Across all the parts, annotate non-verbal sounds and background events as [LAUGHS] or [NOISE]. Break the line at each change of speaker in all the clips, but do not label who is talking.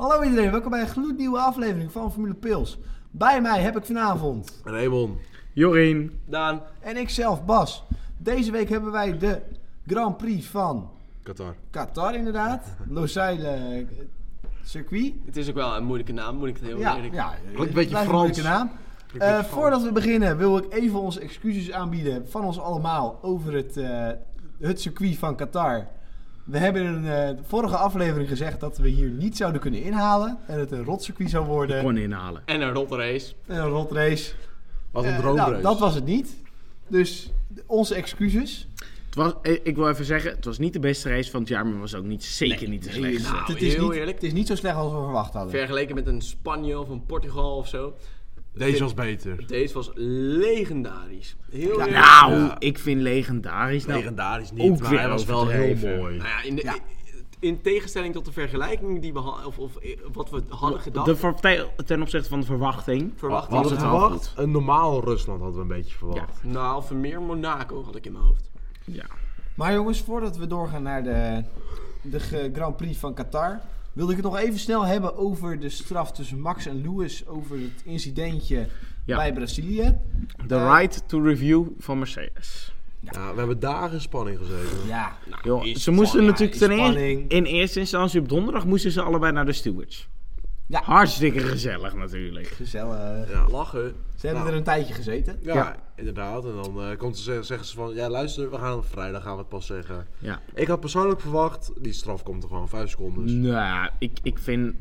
Hallo iedereen, welkom bij een gloednieuwe aflevering van Formule Pils. Bij mij heb ik vanavond
Raymond.
Jorien.
Daan.
en ikzelf Bas. Deze week hebben wij de Grand Prix van
Qatar.
Qatar
[LAUGHS]
inderdaad. Losail eh, circuit.
Het is ook wel een moeilijke naam, moet ik het heel
Ja,
eerlijk
ja
beetje
het blijft een
Frans.
moeilijke naam.
een beetje
Eh,
Frans.
voordat we beginnen wil ik even onze excuses aanbieden van ons allemaal over het, eh, het circuit van Qatar. We hebben in eh, de vorige aflevering gezegd dat we hier niet zouden kunnen inhalen en het een rotcircuit zou worden.
Kon inhalen.
En een rotrace.
Een rotrace.
Wat een
Eh,
droomreis.
nou, dat was het niet. Dus d- onze excuses.
Het was, eh, ik wil even zeggen, het was niet de beste race van het jaar, maar het was ook niet, zeker niet de slechtste.
nou.
het, is
heel
niet,
eerlijk.
het is niet zo slecht als we verwacht hadden.
Vergeleken met een Spanje of een Portugal of zo.
Deze was beter.
Deze was legendarisch. Heel eerlijk.
Nou,
Ja.
ik vind legendarisch. Nou,
Legendarisch
ook
niet, maar hij
weer
was wel
overdreven.
heel mooi.
Nou ja, in, de-
Ja.
in tegenstelling tot de vergelijking die we ha- of, of eh, wat we hadden gedacht,
de vertel- ten opzichte van de verwachting.
verwacht
Was
ik-
het
wel
verwacht? Een normaal Rusland hadden we een beetje verwacht.
Nou, voor meer Monaco had ik in mijn hoofd.
Ja.
Maar jongens, voordat we doorgaan naar de, de ge- Grand Prix van Qatar, wilde ik het nog even snel hebben over de straf tussen Max en Lewis over het incidentje
Ja.
bij Brazilië.
The
Eh,
right to review van Mercedes.
Ja. we hebben dagen in spanning gezeten.
Ja,
Joh,
is
ze moesten
spanning,
natuurlijk
is
ten eerste,
spanning.
in eerste instantie op donderdag moesten ze allebei naar de stewards.
Ja.
Hartstikke gezellig natuurlijk.
gezellig.
Ja.
Lachen.
Ze hebben
Nou.
er een tijdje gezeten.
Ja,
Ja.
inderdaad. En dan eh, komt ze, ze- zeggen ze van, ja luister, we gaan vrijdag gaan we het pas zeggen.
Ja.
Ik had persoonlijk verwacht, die straf komt er gewoon, vijf seconden.
Nou, ik, ik vind...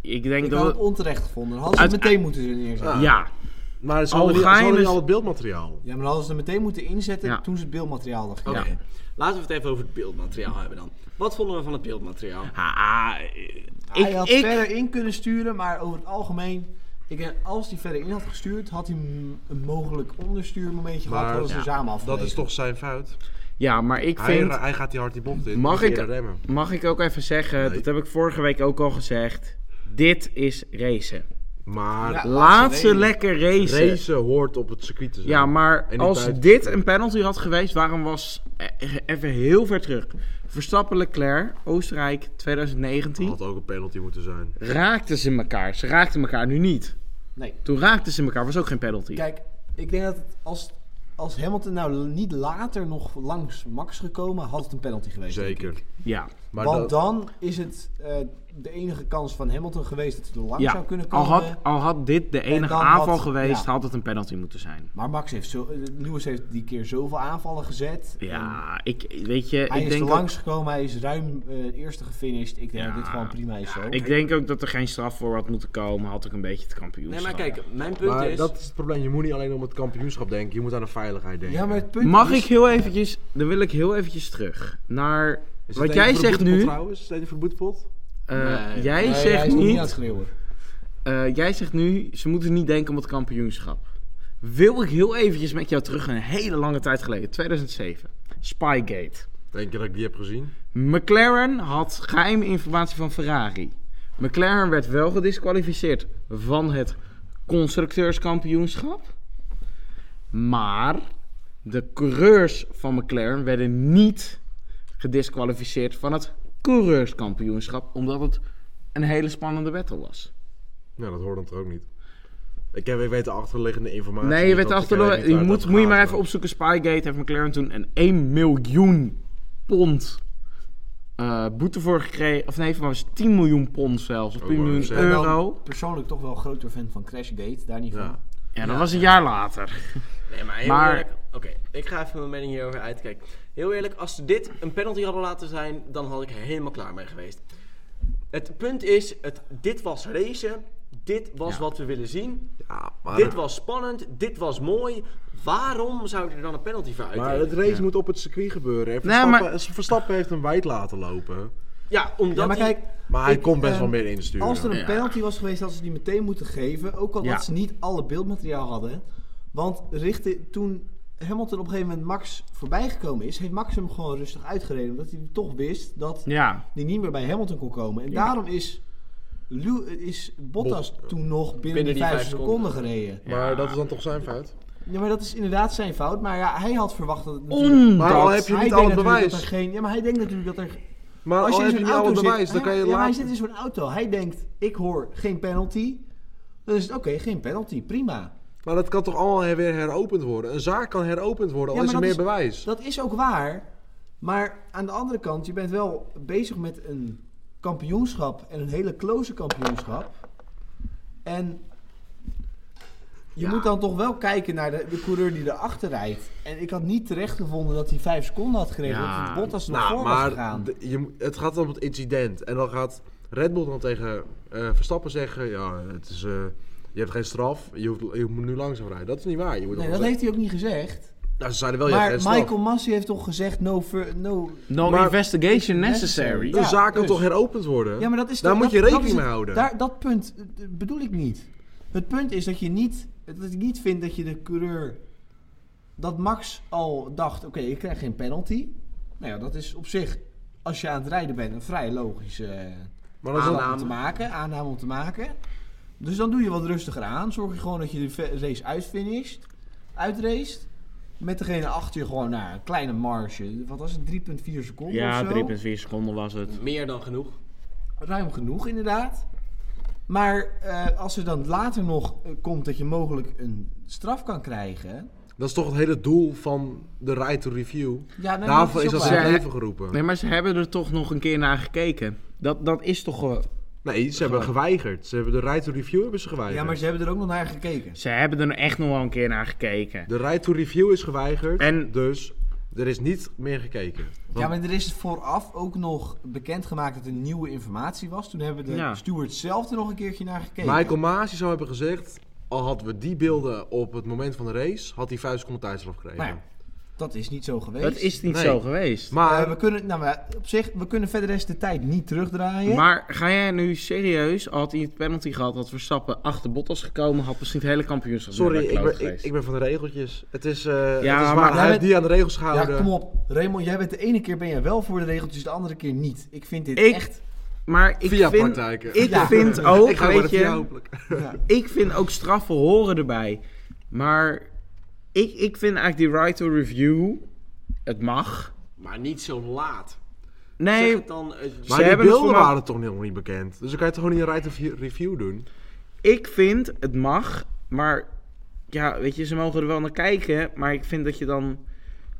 Ik denk
Ik
dat...
had het
het-
onterecht gevonden. Hadden ze het
Uit- Ah.
meteen moeten ze neerzetten.
Ja.
ja,
Maar ze
Al
hadden, niet, ze
ga je
hadden niet
dus-
al het beeldmateriaal.
Ja, maar hadden ze het meteen moeten inzetten
Ja.
toen ze het beeldmateriaal hadden
Oké.
gekregen.
Ja.
Laten we het even over het beeldmateriaal hebben dan. Wat vonden we van het beeldmateriaal?
Ah, eh,
hij
ik,
had
ik,
verder in kunnen sturen, maar over het algemeen. Ik, denk, als hij verder in had gestuurd, had hij m- een mogelijk onderstuurmomentje gehad.
Maar-
Hadden ze
Ja,
samen
Dat
afgelegen.
is toch zijn fout.
ja, maar ik
Hij,
vind...
ra- hij gaat die hard die bocht in.
Mag
Moet
ik-
je remmen.
Mag ik ook even zeggen,
Nee.
dat heb ik vorige week ook al gezegd. Dit is racen.
Maar
Ja.
Laat
laatste
ze
race.
lekker racen.
racen hoort op het circuit te zijn.
Ja,
En
maar
niet
als
buiten.
dit een penalty had geweest, waarom was eh, even heel ver terug. Verstappen Leclerc, Oostenrijk 2019.
had ook een penalty moeten zijn.
Raakten ze elkaar. Ze raakten elkaar nu niet.
Nee.
Toen raakten ze elkaar, was ook geen penalty.
Kijk, ik denk dat het als, als Hamilton nou l- niet later nog langs Max gekomen, had het een penalty geweest. denk ik.
Zeker.
Ja.
Maar
Want
dat,
dan is het eh, de enige kans van Hamilton geweest dat hij er lang
ja.
zou kunnen
Al,
komen.
had, al had dit de enige
dan
aanval
had-
geweest,
ja.
had het een penalty moeten zijn.
Maar Max heeft zo, eh, Lewis heeft die keer zoveel aanvallen gezet. En
Ja, ik weet je,
Hij
ik
is
denk
er
ook-
langs gekomen, hij is ruim eh, eerste gefinished. Ik denk
Ja.
dat dit gewoon prima is zo.
Ik denk ook dat er geen straf voor had moeten komen. Had ik een beetje het kampioen.
Nee, maar kijk, mijn punt
maar
is...
dat is het probleem. Je moet niet alleen om het kampioenschap denken. Je moet aan de veiligheid denken.
Ja, maar het punt
Mag
is-
ik heel eventjes, dan wil ik heel eventjes terug naar
Is het
wat
eentje
jij
voor de
zegt
boetepot
nu.
Trouwens, is het eentje voor de boetepot?
eh,
Nee.
jij,
Nee, hij is
zegt
nog
niet,
aan het schreeuwen.
eh, jij zegt nu, ze moeten niet denken om het kampioenschap. Wil ik heel eventjes met jou terug een hele lange tijd geleden, 2007. Spygate.
Denk je dat ik die heb gezien?
McLaren had geheime informatie van Ferrari. McLaren werd wel gedisqualificeerd van het constructeurskampioenschap. Maar de coureurs van McLaren werden niet gedisqualificeerd van het coureurskampioenschap. Omdat het een hele spannende battle was.
Nou, dat hoort dan toch ook niet. Ik, heb, ik weet de achterliggende informatie.
Nee, je
niet,
werd
want ik heb
achter.
niet
Je
uit
moet,
dat
moet je maar
gehad,
even opzoeken. Spygate heeft McLaren toen een 1 miljoen pond eh, boete voor gekregen. Of nee, was het 10 miljoen pond zelfs. Of
Oh,
10 miljoen
wow.
Ik ben wel
euro.
persoonlijk toch wel een groter fan van Crashgate, daar niet van.
Ja.
Ja, dat was een jaar later.
Nee, maar heel
Maar-
eerlijk... Oké, ik ga even mijn mening hierover uitkijken. Heel eerlijk, als ze dit een penalty hadden laten zijn, dan had ik er helemaal klaar mee geweest. Het punt is, het, dit was racen. Dit was
Ja.
wat we willen zien.
Ja, maar,
Dit was spannend. Dit was mooi. Waarom zou je er dan een penalty voor
maar
uitdelen?
het Nou, race moet op het circuit gebeuren. En
Nee,
Verstappen,
maar-
Verstappen heeft hem wijd laten lopen.
Ja, omdat
Ja, maar
hij-
kijk,
Maar hij
Ik,
kon best
ehm,
wel meer insturen.
als er een
Ja.
penalty was geweest, hadden ze die meteen moeten geven. Ook al
Ja.
dat ze niet alle beeldmateriaal hadden. Want richtte, toen Hamilton op een gegeven moment Max voorbijgekomen is, heeft Max hem gewoon rustig uitgereden. Omdat hij toch wist dat
Ja.
hij niet meer bij Hamilton kon komen. En
Ja.
daarom is, Lew- is Bottas
Bot-
toen nog binnen,
Binnen
die
die
vijf
vijf
seconden, gereden.
Maar dat is dan toch zijn fout?
Ja, maar dat is inderdaad zijn fout. Maar ja, hij had verwacht dat het natuurlijk-
Omdat.
Maar al heb je
Hij
niet
denkt
al het
natuurlijk
bewijs.
Dat er geen, ja, maar hij denkt natuurlijk dat er
Maar
Als
als
je
je
in
heb
zo'n
je niet
auto
alle
zit-
bewijs, dan
ja,
kan je
ja, maar hij zit
later...
in zo'n auto. Hij denkt, ik hoor geen penalty. Dan is het oké, geen penalty, prima.
Maar dat kan toch allemaal her- weer heropend worden? Een zaak kan heropend worden, al
Ja,
is er
maar
meer
dat
bewijs.
Dat is ook waar. Maar aan de andere kant, je bent wel bezig met een kampioenschap en een hele close kampioenschap. En je moet dan toch wel kijken naar de, de coureur die erachter rijdt. En ik had niet terecht gevonden dat hij vijf seconden had gereden.
Ja,
want Bottas nog
Nou,
voor was
maar
gegaan.
de- je, moet- het gaat om het incident. En dan gaat Red Bull dan tegen eh, Verstappen zeggen... Ja, het is, eh, je hebt geen straf, je, hoeft, je moet nu langzaam rijden. Dat is niet waar. Je moet
nee,
nog
dat
wel zeggen-
heeft hij ook niet gezegd.
Nou, ze zeiden wel, je
maar
hebt geen straf.
Michael Massi heeft toch gezegd no... fur- no
No
Maar-
investigation necessary.
Ja,
Een zaak kan
dus.
toch heropend worden?
Ja, maar dat is
Daar
toch-
moet je
dat- dat
rekening
is
mee
het-
houden.
Daar, dat punt eh, bedoel ik niet. Het punt is dat je niet, dat ik niet vind dat je de coureur, dat Max al dacht, oké, ik krijg geen penalty. Nou ja, dat is op zich, als je aan het rijden bent, een vrij logische eh,
Maar dan is dat-
aanname om te maken. Aanname om te maken. Dus dan doe je wat rustiger aan. Zorg je gewoon dat je de ve- race uitfinisht, uitraced. Met degene achter je gewoon naar een kleine marge. Wat was het? 3,4 seconden
Ja,
of zo?
3,4 seconden was het.
Meer dan genoeg.
ruim genoeg inderdaad. Maar eh, als er dan later nog eh, komt dat je mogelijk een straf kan krijgen.
dat is toch het hele doel van de right to review.
Ja, nee,
Daarvoor is
ook
dat
waar.
ze
waar.
even geroepen.
Nee, maar ze hebben er toch nog een keer naar gekeken. Dat, dat is toch... eh,
Nee, ze hebben geweigerd. Ze hebben de right to review hebben ze geweigerd.
Ja, maar ze hebben er ook nog naar gekeken.
ze hebben er echt nog wel een keer naar gekeken.
De right to review is geweigerd.
En-
dus er is niet meer gekeken. Want-
Ja, maar er is vooraf ook nog bekendgemaakt dat er nieuwe informatie was. Toen hebben de
Ja.
stewards zelf er nog een keertje naar gekeken.
Michael Masi zou hebben gezegd. Al hadden we die beelden op het moment van de race, had hij 5 seconden tijdstraf gekregen.
Nou ja, dat is niet zo geweest.
Dat is niet
Nee.
zo geweest.
Maar
Eh, we kunnen, nou, maar op zich, we kunnen verder de rest de tijd niet terugdraaien.
Maar ga jij nu serieus, had hij het penalty gehad, had Verstappen achter Bottas gekomen, had misschien het hele kampioenschap
sorry,
weer bij
ik
kloot
ben, ik,
geweest.
ik ben van de regeltjes. Het is, eh het is
maar
waar.
jij
hij heeft
bent-
die aan de regels
ja,
gehouden.
kom op. Raymond, jij bent de ene keer ben jij wel voor de regeltjes, de andere keer niet. Ik vind dit
Ik-
echt...
Maar ik
Via
vind,
praktijken.
ik
Ja.
vind ook,
[LAUGHS] ik ga
weet
worden
je,
via hopelijk.
Ja.
ik vind ook straffen horen erbij. Maar ik, ik vind eigenlijk die right to review, het mag.
Maar niet zo laat. Zeg
Nee,
het dan, eh,
Maar
Ze
die
hebben het
beelden
voor-
waren toch nog niet bekend. Dus dan kan je toch gewoon niet een right to view- review doen.
ik vind het mag, maar ja, weet je, ze mogen er wel naar kijken. Maar ik vind dat je dan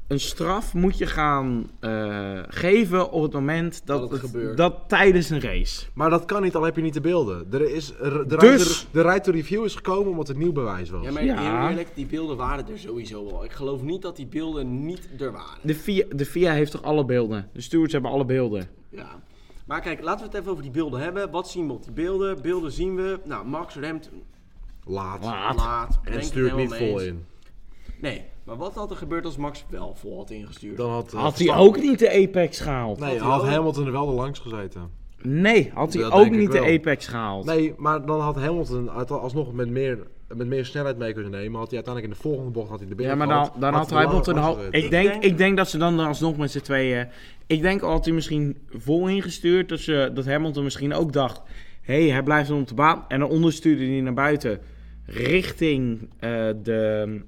een straf moet je gaan eh, geven op het moment dat,
Dat het gebeurt.
dat tijdens een race.
Maar dat kan niet, al heb je niet de beelden. Er is, er- de,
Dus-
right to, de right to review is gekomen omdat het nieuw bewijs was.
ja, maar
Ja.
heel eerlijk, die beelden waren er sowieso wel. Ik geloof niet dat die beelden niet er waren.
De FIA, de FIA heeft toch alle beelden? De stewards hebben alle beelden.
Ja. Maar kijk, laten we het even over die beelden hebben. Wat zien we op die beelden? Beelden zien we. Nou, Max remt
Laat.
Laat.
laat. denk
En
ik
stuurt niet
helemaal mee
vol
eens.
in.
Nee, maar wat had er gebeurd als Max wel vol had ingestuurd?
Dan had, eh,
Had hij
Verstappen-
ook niet de Apex gehaald?
Nee,
hij
had
ook-
Hamilton er wel door langs gezeten.
Nee, had hij
Dat
ook
denk ik
niet de
wel.
Apex gehaald?
Nee, maar dan had Hamilton uit- alsnog met meer, met meer snelheid mee kunnen nemen. Had hij uiteindelijk in de volgende bocht had hij de
Ja,
binnen
maar dan, dan had hij Hamilton al. Ik
Ik
denk,
denk-
ik denk dat ze dan alsnog met z'n tweeën. Ik denk al had hij misschien vol ingestuurd. Dat, ze, dat Hamilton misschien ook dacht: hé, hey, hij blijft om de baan. En dan onderstuurde hij naar buiten. Richting eh, de.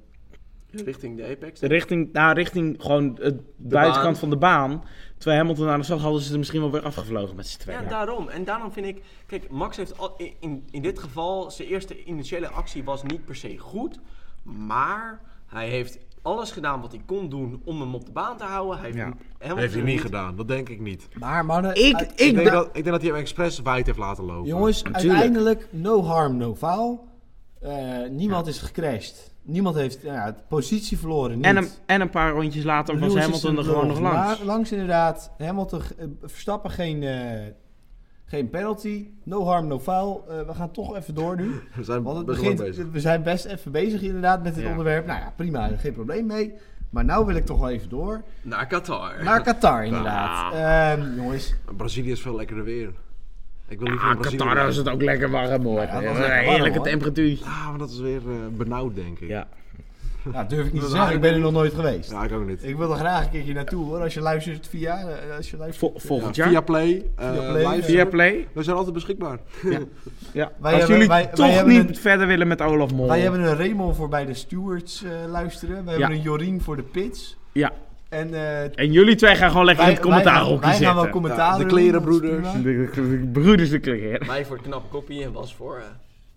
Richting de Apex.
Richting, nou, richting gewoon het buitenkant van de baan. Terwijl Hamilton aan de zat, hadden ze er misschien wel weer afgevlogen met z'n tweeën.
Ja, daarom. En daarom vind ik... Kijk, Max heeft al, in, in dit geval... Zijn eerste initiële actie was niet per se goed. Maar hij heeft alles gedaan wat hij kon doen om hem op de baan te houden. Hij heeft,
Ja.
helemaal
Heeft hij niet gedaan, dat denk ik niet.
Maar mannen...
ik,
uit-
Ik
ik,
denk,
da-
dat, ik denk dat hij hem expres wijd heeft laten lopen.
Jongens,
Natuurlijk.
uiteindelijk no harm, no foul. Eh, niemand is gecrashed. Niemand heeft nou ja, positie verloren. Niet.
En een, en een paar rondjes later was
Lewis
Hamilton
is
er gewoon nog langs.
la- Langs inderdaad. Hamilton eh, verstappen geen, eh, geen penalty. No harm, no foul. Eh, we gaan toch even door nu.
we zijn
Want het
best wel lang
begint,
bezig.
we zijn best even bezig inderdaad met dit
Ja.
onderwerp. Nou ja, prima. Geen probleem mee. Maar nou wil ik toch wel even door.
Naar Qatar.
Naar Qatar inderdaad. Ehm, jongens,
Brazilië is veel lekkerder weer. Ik wil liever naar
Ah,
Brazilië.
Qatar is het ook lekker warm hoor.
Ja, dat was
Een
lekker warm,
heerlijke
hoor.
temperatuur.
Ah, maar dat is weer eh, benauwd, denk ik.
Ja.
nou, durf ik niet te
We
zeggen.
waren-
Ik ben er nog nooit geweest.
Ja, ik ook niet.
Ik wil er graag een keertje naartoe hoor, als je luistert via... eh, Als je luistert.
Vol- volgend
Ja,
jaar.
Via
Via,
Play.
Via
eh
Play,
live.
via
Play.
We zijn altijd beschikbaar.
Ja.
Wij
Als
hebben-
jullie
wij- wij
toch
hebben
niet
een-
verder willen met Olaf Mol.
Wij hebben een Raymond voor bij de stewards eh, luisteren. We hebben
Ja.
een Jorien voor de pits.
Ja.
En eh,
En jullie twee gaan gewoon lekker in het commentaar
gaan,
opzetten.
wij gaan wel commentaar
Ja, de
doen,
klerenbroeders.
dat is prima.
De- de- de Broeders de kleren.
Mij voor het knappe kopie en was voor. eh,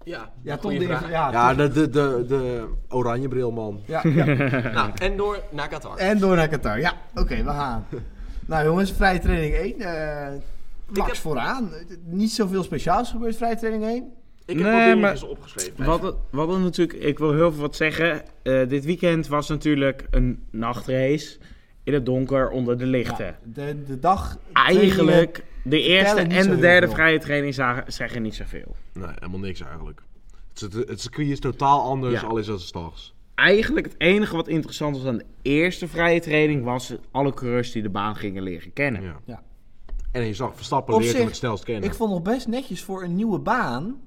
ja,
Ja,
een
toch de,
goede vraag.
ja,
Ja,
ja,
de, de, de, de oranje bril, man.
ja, ja.
Nou, en door naar Qatar.
Eh,
En door naar Qatar. Ja, oké, we
[LAUGHS]
gaan. Nou jongens, vrije training 1. eh Max
heb-
vooraan. Niet zoveel speciaals gebeurd vrije training 1.
Ik heb wat
Nee, maar-
dingetjes opgeschreven.
Wat, het- wat het natuurlijk, ik wil heel veel wat zeggen. Eh, dit weekend was natuurlijk een nachtrace in het donker onder de lichten.
Ja, de, de dag...
Eigenlijk, de eerste
eh, vertellen niet
en
zo
de
heel
derde
veel.
vrije training zagen- zeggen niet zoveel.
Nee, helemaal niks eigenlijk. Het, cir- het circuit is totaal anders,
Ja.
al is dat stags.
Eigenlijk het enige wat interessant was aan de eerste vrije training was alle coureurs die de baan gingen leren kennen.
Ja.
Ja.
En je zag Verstappen
Op
leert hem
zich,
het snelst kennen.
Ik vond nog best netjes voor een nieuwe baan.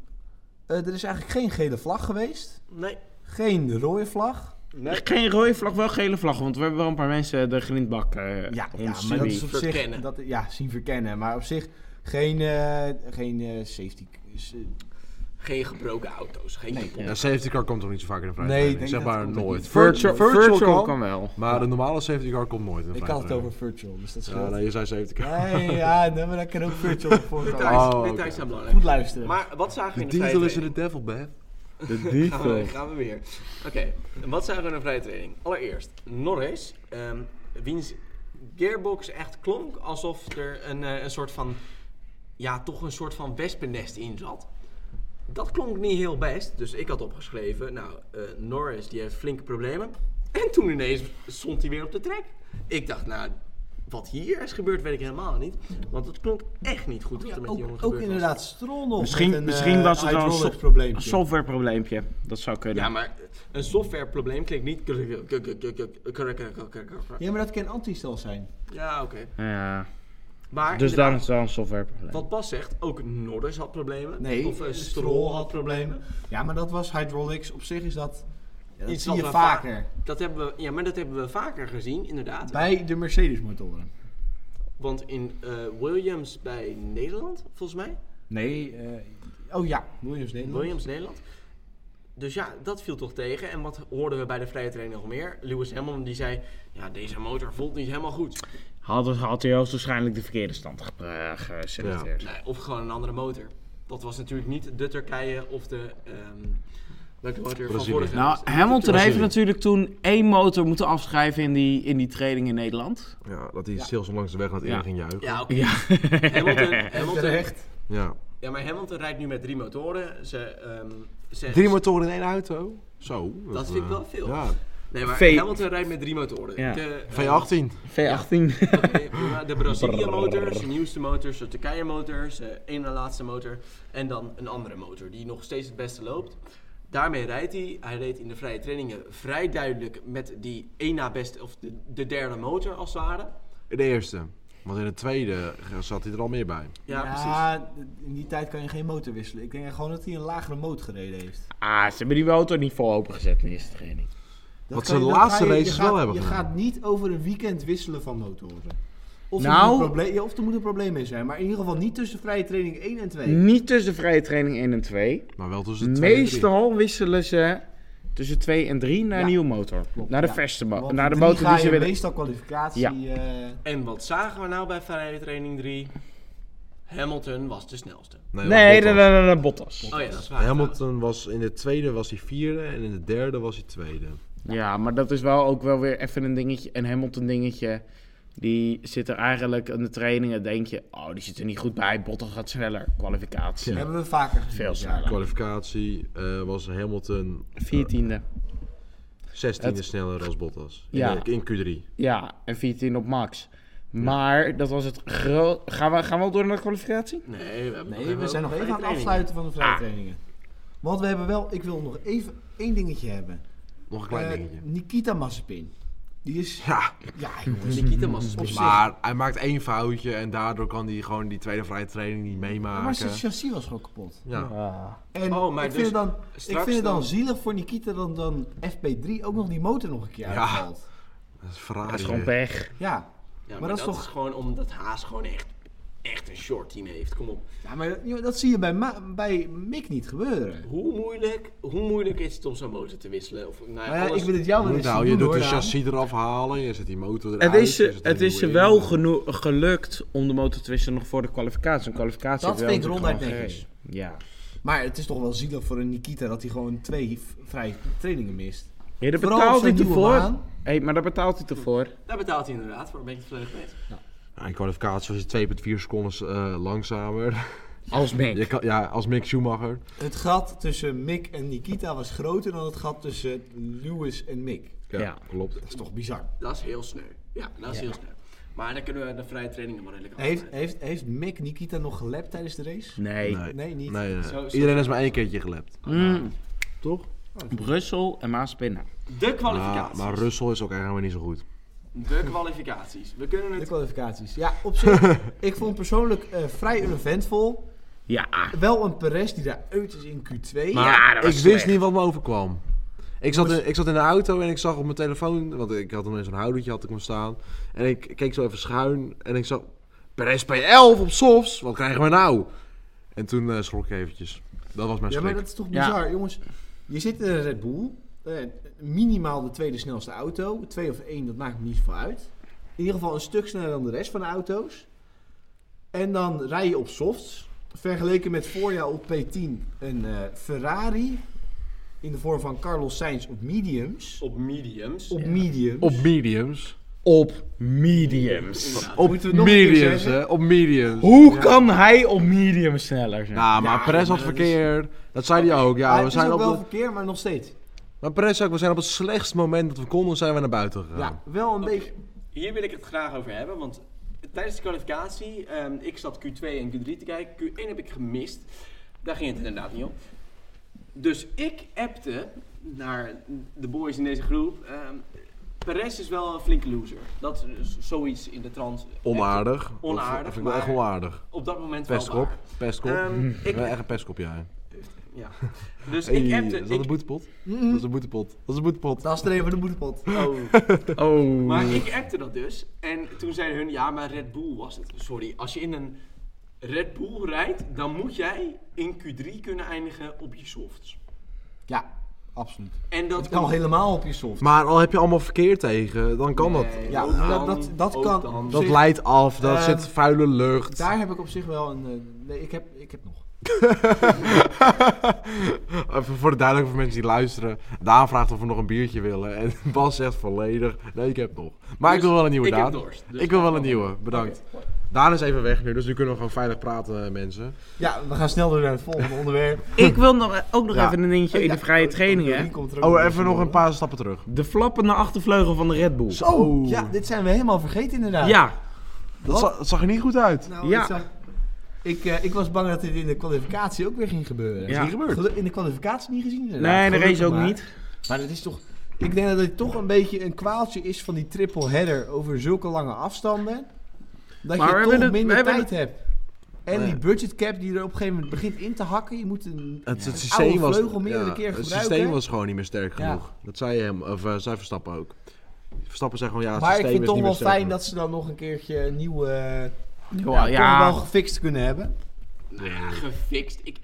Eh, er is eigenlijk geen gele vlag geweest.
Nee.
Geen rode vlag.
Nee.
Geen rode vlag, wel gele vlag, want we hebben wel een paar mensen de grindbak eh
Ja, ja,
ons
maar dat
circuit.
is op zich...
Verkennen.
Dat, ja, zien verkennen. Maar op zich geen, eh, geen eh, safety...
Geen gebroken auto's. Geen kapot.
Ja, safety car komt toch niet zo vaak in de vrije
Nee,
training?
ik denk
zeg
dat
maar
komt ook
nooit.
niet.
Virtual, virtual,
kan,
kan wel.
maar een normale safety car komt nooit in de
ik
vrije
had het over
training.
virtual, dus dat
Ja,
scheelt.
nee, je zei safety car.
Nee, [LAUGHS] ja, nee, maar daar kan ook virtual op voorkomen.
Details,
Oh,
details
oké.
zijn belangrijk.
Goed luisteren.
Maar wat zagen we
De
in de vrije
titel is in de
training?
devil, Beth.
De
Gaan we, gaan we weer. Oké, en wat zagen we in de vrije training? Allereerst, Norris, ehm, wiens gearbox echt klonk alsof er een, eh, een soort van, ja, toch een soort van wespennest in zat. Dat klonk niet heel best, dus ik had opgeschreven, nou, eh, Norris die heeft flinke problemen. En toen ineens stond hij weer op de trek. Ik dacht, nou, wat hier is gebeurd weet ik helemaal niet. Want het klonk echt niet goed wat er met die jongen
Oh ook, ook
gebeurd was.
inderdaad strol nog.
Misschien-
met een,
misschien
eh,
was het wel een
hydraulic
so-
probleempje.
Een softwareprobleempje, dat zou kunnen.
Ja, maar een softwareprobleem klinkt niet. kuk- kuk- kuk- kuk- kuk- kuk- kuk- kuk- kuk- kuk- kuk-
Ja, maar dat kan antistel zijn.
Ja, oké.
Ja,
Maar
dus
inderdaad,
daarom is het wel een softwareprobleem.
wat Bas zegt, ook Norris had problemen. of eh,
eh,
Stroll had
problemen. Ja, maar dat was hydraulics. Op zich is dat... ja, dat
Iets
zie
wat
je
we
vaker.
Dat hebben we, ja, maar dat hebben we vaker gezien, inderdaad.
Bij de Mercedes-motoren.
Want in eh, Williams bij Nederland, volgens mij.
Nee, eh, oh ja, Williams Nederland.
Williams Nederland. Dus ja, dat viel toch tegen. En wat hoorden we bij de vrije training nog meer? Lewis Hamilton die zei, ja, deze motor voelt niet helemaal goed.
Had, had hij hoogstwaarschijnlijk de verkeerde stand gep- eh, geselecteerd.
Nee, of gewoon een andere motor. Dat was natuurlijk niet de Turkije of de. ehm welke motor van
Brazilië.
vorige
Nou,
race?
Hamilton heeft
Brazilië.
natuurlijk toen één motor moeten afschrijven in die, in die training in Nederland.
Ja, dat hij stil zo langs de weg naar het
Ja.
ja. ging juichen. Ja.
Ja, oké.
Ja.
[LAUGHS]
Hamilton,
[LAUGHS]
Hamilton,
Terecht.
ja, maar Hamilton rijdt nu met drie motoren. Ze, ehm, ze,
Drie motoren in één auto? Zo. Dat,
vind ik
eh,
wel veel.
Ja,
Nee, maar
V-
Hamilton rijdt met drie motoren.
Ja.
De, ehm,
V18.
V18.
oké, prima. de Brazilië motor, zijn nieuwste motor, zijn Turkije motor, zijn ene laatste motor. En dan een andere motor die nog steeds het beste loopt. Daarmee rijdt hij. Hij reed in de vrije trainingen vrij duidelijk met die één na beste, of de, de derde motor als het ware.
In de eerste. Want in de tweede zat hij er al meer bij.
Ja, precies.
Ja, in die tijd kan je geen motor wisselen. Ik denk gewoon dat hij een lagere motor gereden heeft.
Ah, ze hebben die motor niet vol opengezet in de eerste training.
Dat
Wat
kan
ze
je-
de
dat
laatste
ga je- je
races
gaat-
wel hebben
Je
gedaan.
gaat niet over een weekend wisselen van motoren. Of,
Nou.
er moet een probleem, ja, of er moet een probleem mee zijn. Maar in ieder geval niet tussen vrije training 1 en 2.
Niet tussen vrije training 1 en 2.
Maar wel tussen de tweede en drie.
Meestal wisselen ze tussen 2 en 3 naar een
Ja.
nieuwe motor.
Klopt,
naar de
ja.
verste motor.
Want
Naar de
drie
motor
ga
die
je
ze willen.
meestal kwalificatie...
Ja.
eh,
En wat zagen we nou bij vrije training 3? Hamilton was de snelste.
Nee,
want
nee,
Bottas-
nee, nee, Bottas.
Oh ja, dat is waar.
Hamilton was in de tweede was hij vierde en in de derde was hij tweede.
Ja, maar dat is wel ook wel weer even een dingetje, een Hamilton dingetje. Die zit er eigenlijk in de trainingen, denk je, oh, die zit er niet goed bij. Bottas gaat sneller, kwalificatie.
Hebben we vaker gezien.
Veel
Ja.
sneller.
Kwalificatie eh, was Hamilton
14e.
16e
Het-
sneller dan Bottas. In,
Ja.
de- in Q3.
Ja, en 14 op max. Maar dat was het groot. Gaan we, gaan we al door naar de kwalificatie?
Nee, we, hebben
Nee, we zijn nog
vrije
even aan het
trainingen.
afsluiten van de vrije
Ah.
trainingen. Want we hebben wel... Ik wil nog even één dingetje hebben.
Nog een klein
Eh,
dingetje.
Nikita Mazepin. Die is...
Ja,
Ja,
[LAUGHS]
jongens.
Nikita was
Op zich.
maar hij maakt één foutje en daardoor kan hij gewoon die tweede vrije training niet
Maar zijn
meemaken.
chassis was gewoon kapot.
Ja.
En
Oh, maar
ik, vind het
dus
dan, ik
straks
vind het dan
dan-
zielig voor Nikita dan, dan FP3 ook nog die motor nog een keer
Ja.
uitvalt.
Dat is
dat is
Ferrari.
gewoon
hè.
pech.
Ja.
Ja, maar,
dat
dat,
is
is
toch-
gewoon omdat Haas gewoon echt echt een short team heeft. Kom op.
Ja, maar joh, dat zie je bij, Ma- bij Mick niet gebeuren.
Hoe moeilijk, hoe moeilijk is het om zo'n motor te wisselen? Of, nou ja,
Maar ja,
alles-
ik wil het jou wel eens
Nou,
zien
je
doen,
doet
hoor,
de
Daan.
chassis eraf halen, je zet die motor eruit.
Het is,
je
je,
zet er
het is je
nieuwe
wel
in.
geno- gelukt om de motor te wisselen nog voor de kwalificatie. Een kwalificatie
Dat
is wel
vind ik
natuurlijk
ronduit
gewoon
netjes.
gereden. Ja.
Maar het is toch wel zielig voor een Nikita dat hij gewoon twee v- vrije trainingen mist.
Ja, daar
Vooral op
betaalt hij
zo'n nieuwe
ervoor.
baan.
Hé, maar daar betaalt hij ervoor.
Daar betaalt hij inderdaad voor, ben ik het volledig mee eens.
Ja, in kwalificatie was je 2,4 seconden eh, langzamer.
Als
Je
Mick.
kan, ja, als Mick Schumacher.
Het gat tussen Mick en Nikita was groter dan het gat tussen Lewis en Mick.
Ja,
Ja.
klopt.
Dat is toch bizar.
Dat is heel sneu. Ja, dat is heel sneu. Maar dan kunnen we de vrije trainingen wel redelijk
Heeft,
afleiden.
heeft, heeft Mick Nikita nog gelapt tijdens de race?
Nee.
Nee, niet.
Nee, nee.
Zo- zo-
Iedereen is maar één keertje gelept.
Mm,
Toch?
Brussel en Maaspinna.
De
Maar,
kwalificaties.
Nou, Ah, maar Russell is ook eigenlijk helemaal niet zo goed.
De kwalificaties. We kunnen
De
het...
kwalificaties. Ja, [LAUGHS] op zich. ik vond persoonlijk eh, vrij eventvol.
Ja.
Wel een Perez die daar uit is in Q2.
ja, dat
ik
was
wist
slecht.
niet wat me overkwam. Ik zat, in, ik zat in de auto en ik zag op mijn telefoon, want ik had hem in zo'n houdertje had ik hem staan. En ik keek zo even schuin en ik zag Perez P11 op softs, wat krijgen we nou? En toen eh, schrok ik eventjes. Dat was mijn
Ja,
schrik.
maar dat is toch
Ja.
bizar, jongens. Je zit in een Red Bull. eh, minimaal de tweede snelste auto. Twee of één, dat maakt niet veel uit. In ieder geval een stuk sneller dan de rest van de auto's. En dan rij je op softs. Vergeleken met voorjaar op P10 een eh, Ferrari. In de vorm van Carlos Sainz op mediums.
Op mediums.
Op mediums.
Op mediums.
Op mediums.
Inderdaad.
Op
Moeten we het nog een keer
mediums,
zeggen?
hè. Op mediums.
Hoe kan hij op medium sneller zijn?
Ja, maar
Ja,
Perez had
maar dat is-
verkeer. Dat zei hij ook.
Maar
Ja, we
het is
zijn
ook
op
wel
de...
verkeer, maar nog steeds.
Maar Perez zei ook, we zijn op het slechtst moment dat we konden, zijn we naar buiten
Ja,
gegaan.
wel een
Oké,
beetje.
Hier wil ik het graag over hebben, want tijdens de kwalificatie, ehm, ik zat Q2 en Q3 te kijken. Q1 heb ik gemist. Daar ging het inderdaad niet om. Dus ik appte naar de boys in deze groep. ehm Perez is wel een flinke loser. Dat is zoiets in de trant.
Onaardig.
Onaardig,
Dat vind ik wel echt
maar-
onaardig.
Op dat moment wel
Pestkop.
waar.
Pestkop.
Ehm, ik-
[LAUGHS] Ja, echt een pestkop, ja.
Ja. Dus ik
Hey,
appte...
is dat
Ik,
een boetepot?
Mm.
Dat is een boetepot. Dat is een boetepot.
Dat is de reden van de moederpot.
oh.
Oh.
Maar
[LAUGHS]
Mm.
ik appte dat dus. En toen zeiden hun, ja, maar Red Bull was het. Sorry, als je in een Red Bull rijdt, dan moet jij in Q3 kunnen eindigen op je softs.
Ja, absoluut.
En dat
Het kan helemaal op je soft.
Maar al heb je allemaal verkeer tegen, dan kan
Nee,
dat.
Ja,
ook
dat- dat- dat
ook
kan.
dan.
Dat
Zich-
leidt af, daar
Ehm,
zit vuile lucht.
Daar heb ik op zich wel een. eh, nee, ik heb, ik heb nog.
[LAUGHS] Even voor de duidelijkheid voor mensen die luisteren. Daan vraagt of we nog een biertje willen. En [LAUGHS] Bas zegt volledig, nee ik heb nog. Maar ik
Dus
wil wel een nieuwe,
ik heb
Daan.
dorst, dus
ik wil wel
ga
een
gewoon.
nieuwe, bedankt. Daan is even weg nu, dus nu kunnen we gewoon veilig praten eh, mensen.
Ja, we gaan snel door naar het volgende [LAUGHS] onderwerp.
Ik wil nog, e- ook nog
Ja.
even een dingetje
Oh,
in
ja.
de vrije trainingen.
Die
hè.
komt er ook
Oh,
nog
even nog
door.
een paar stappen terug.
De flappende achtervleugel van de Red Bull.
Oh, ja, dit zijn we helemaal vergeten inderdaad.
Ja.
Dat za- zag er niet goed uit.
Nou,
Ja.
Ik, zag- ik, eh, ik was bang dat dit in de kwalificatie ook weer ging gebeuren.
Ja.
Is niet gebeurd.
Gelu- In de kwalificatie niet gezien inderdaad.
Nee, de race
Gelukkig
ook
maar.
niet.
Maar dat is toch. Ik denk dat het toch een beetje een kwaaltje is van die triple header over zulke lange afstanden. Dat
Maar we
je
hebben
toch
het-
minder
we hebben
tijd hebt. En
Ja.
die budget cap die er op een gegeven moment begint in te hakken. Je moet een.
Het, het
Oude
systeem was,
vleugel meerdere keer
het
gebruiken.
systeem was gewoon niet meer sterk
Ja.
genoeg. Dat zei hem, of eh, zei Verstappen ook. Verstappen zei gewoon ja, het
maar ik
systeem
vind
is
toch
niet
wel
meer sterk
fijn
genoeg.
dat ze dan nog een keertje een nieuwe. eh,
Ja,
toch
ja.
wel gefixt kunnen hebben.
Nou ja, gefixt. Ik,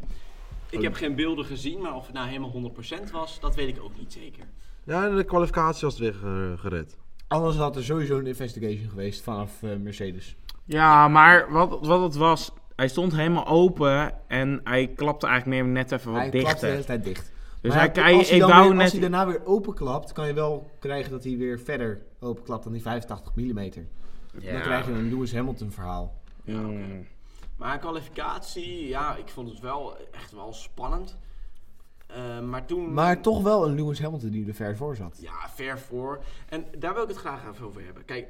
ik
Oh.
heb geen beelden gezien, maar of het nou helemaal 100% was, dat weet ik ook niet zeker.
Ja, in de kwalificatie was het weer eh, gered.
Anders had er sowieso een investigation geweest vanaf eh, Mercedes.
Ja, maar wat, wat het was, hij stond helemaal open en hij klapte eigenlijk net even wat
hij klapt de
dichter.
hele tijd dicht.
Dus
Maar
hij,
ja,
hij,
als hij,
ik
dan
wou
weer-
net...
als hij daarna weer openklapt, kan je wel krijgen dat hij weer verder openklapt dan die 85 mm. Dan krijg je een Lewis Hamilton verhaal.
Ja,
Maar kwalificatie, ja, ik vond het wel echt wel spannend. Eh, maar toen...
Maar toch wel een Lewis Hamilton die er ver voor zat.
Ja, ver voor. En daar wil ik het graag even over hebben. Kijk,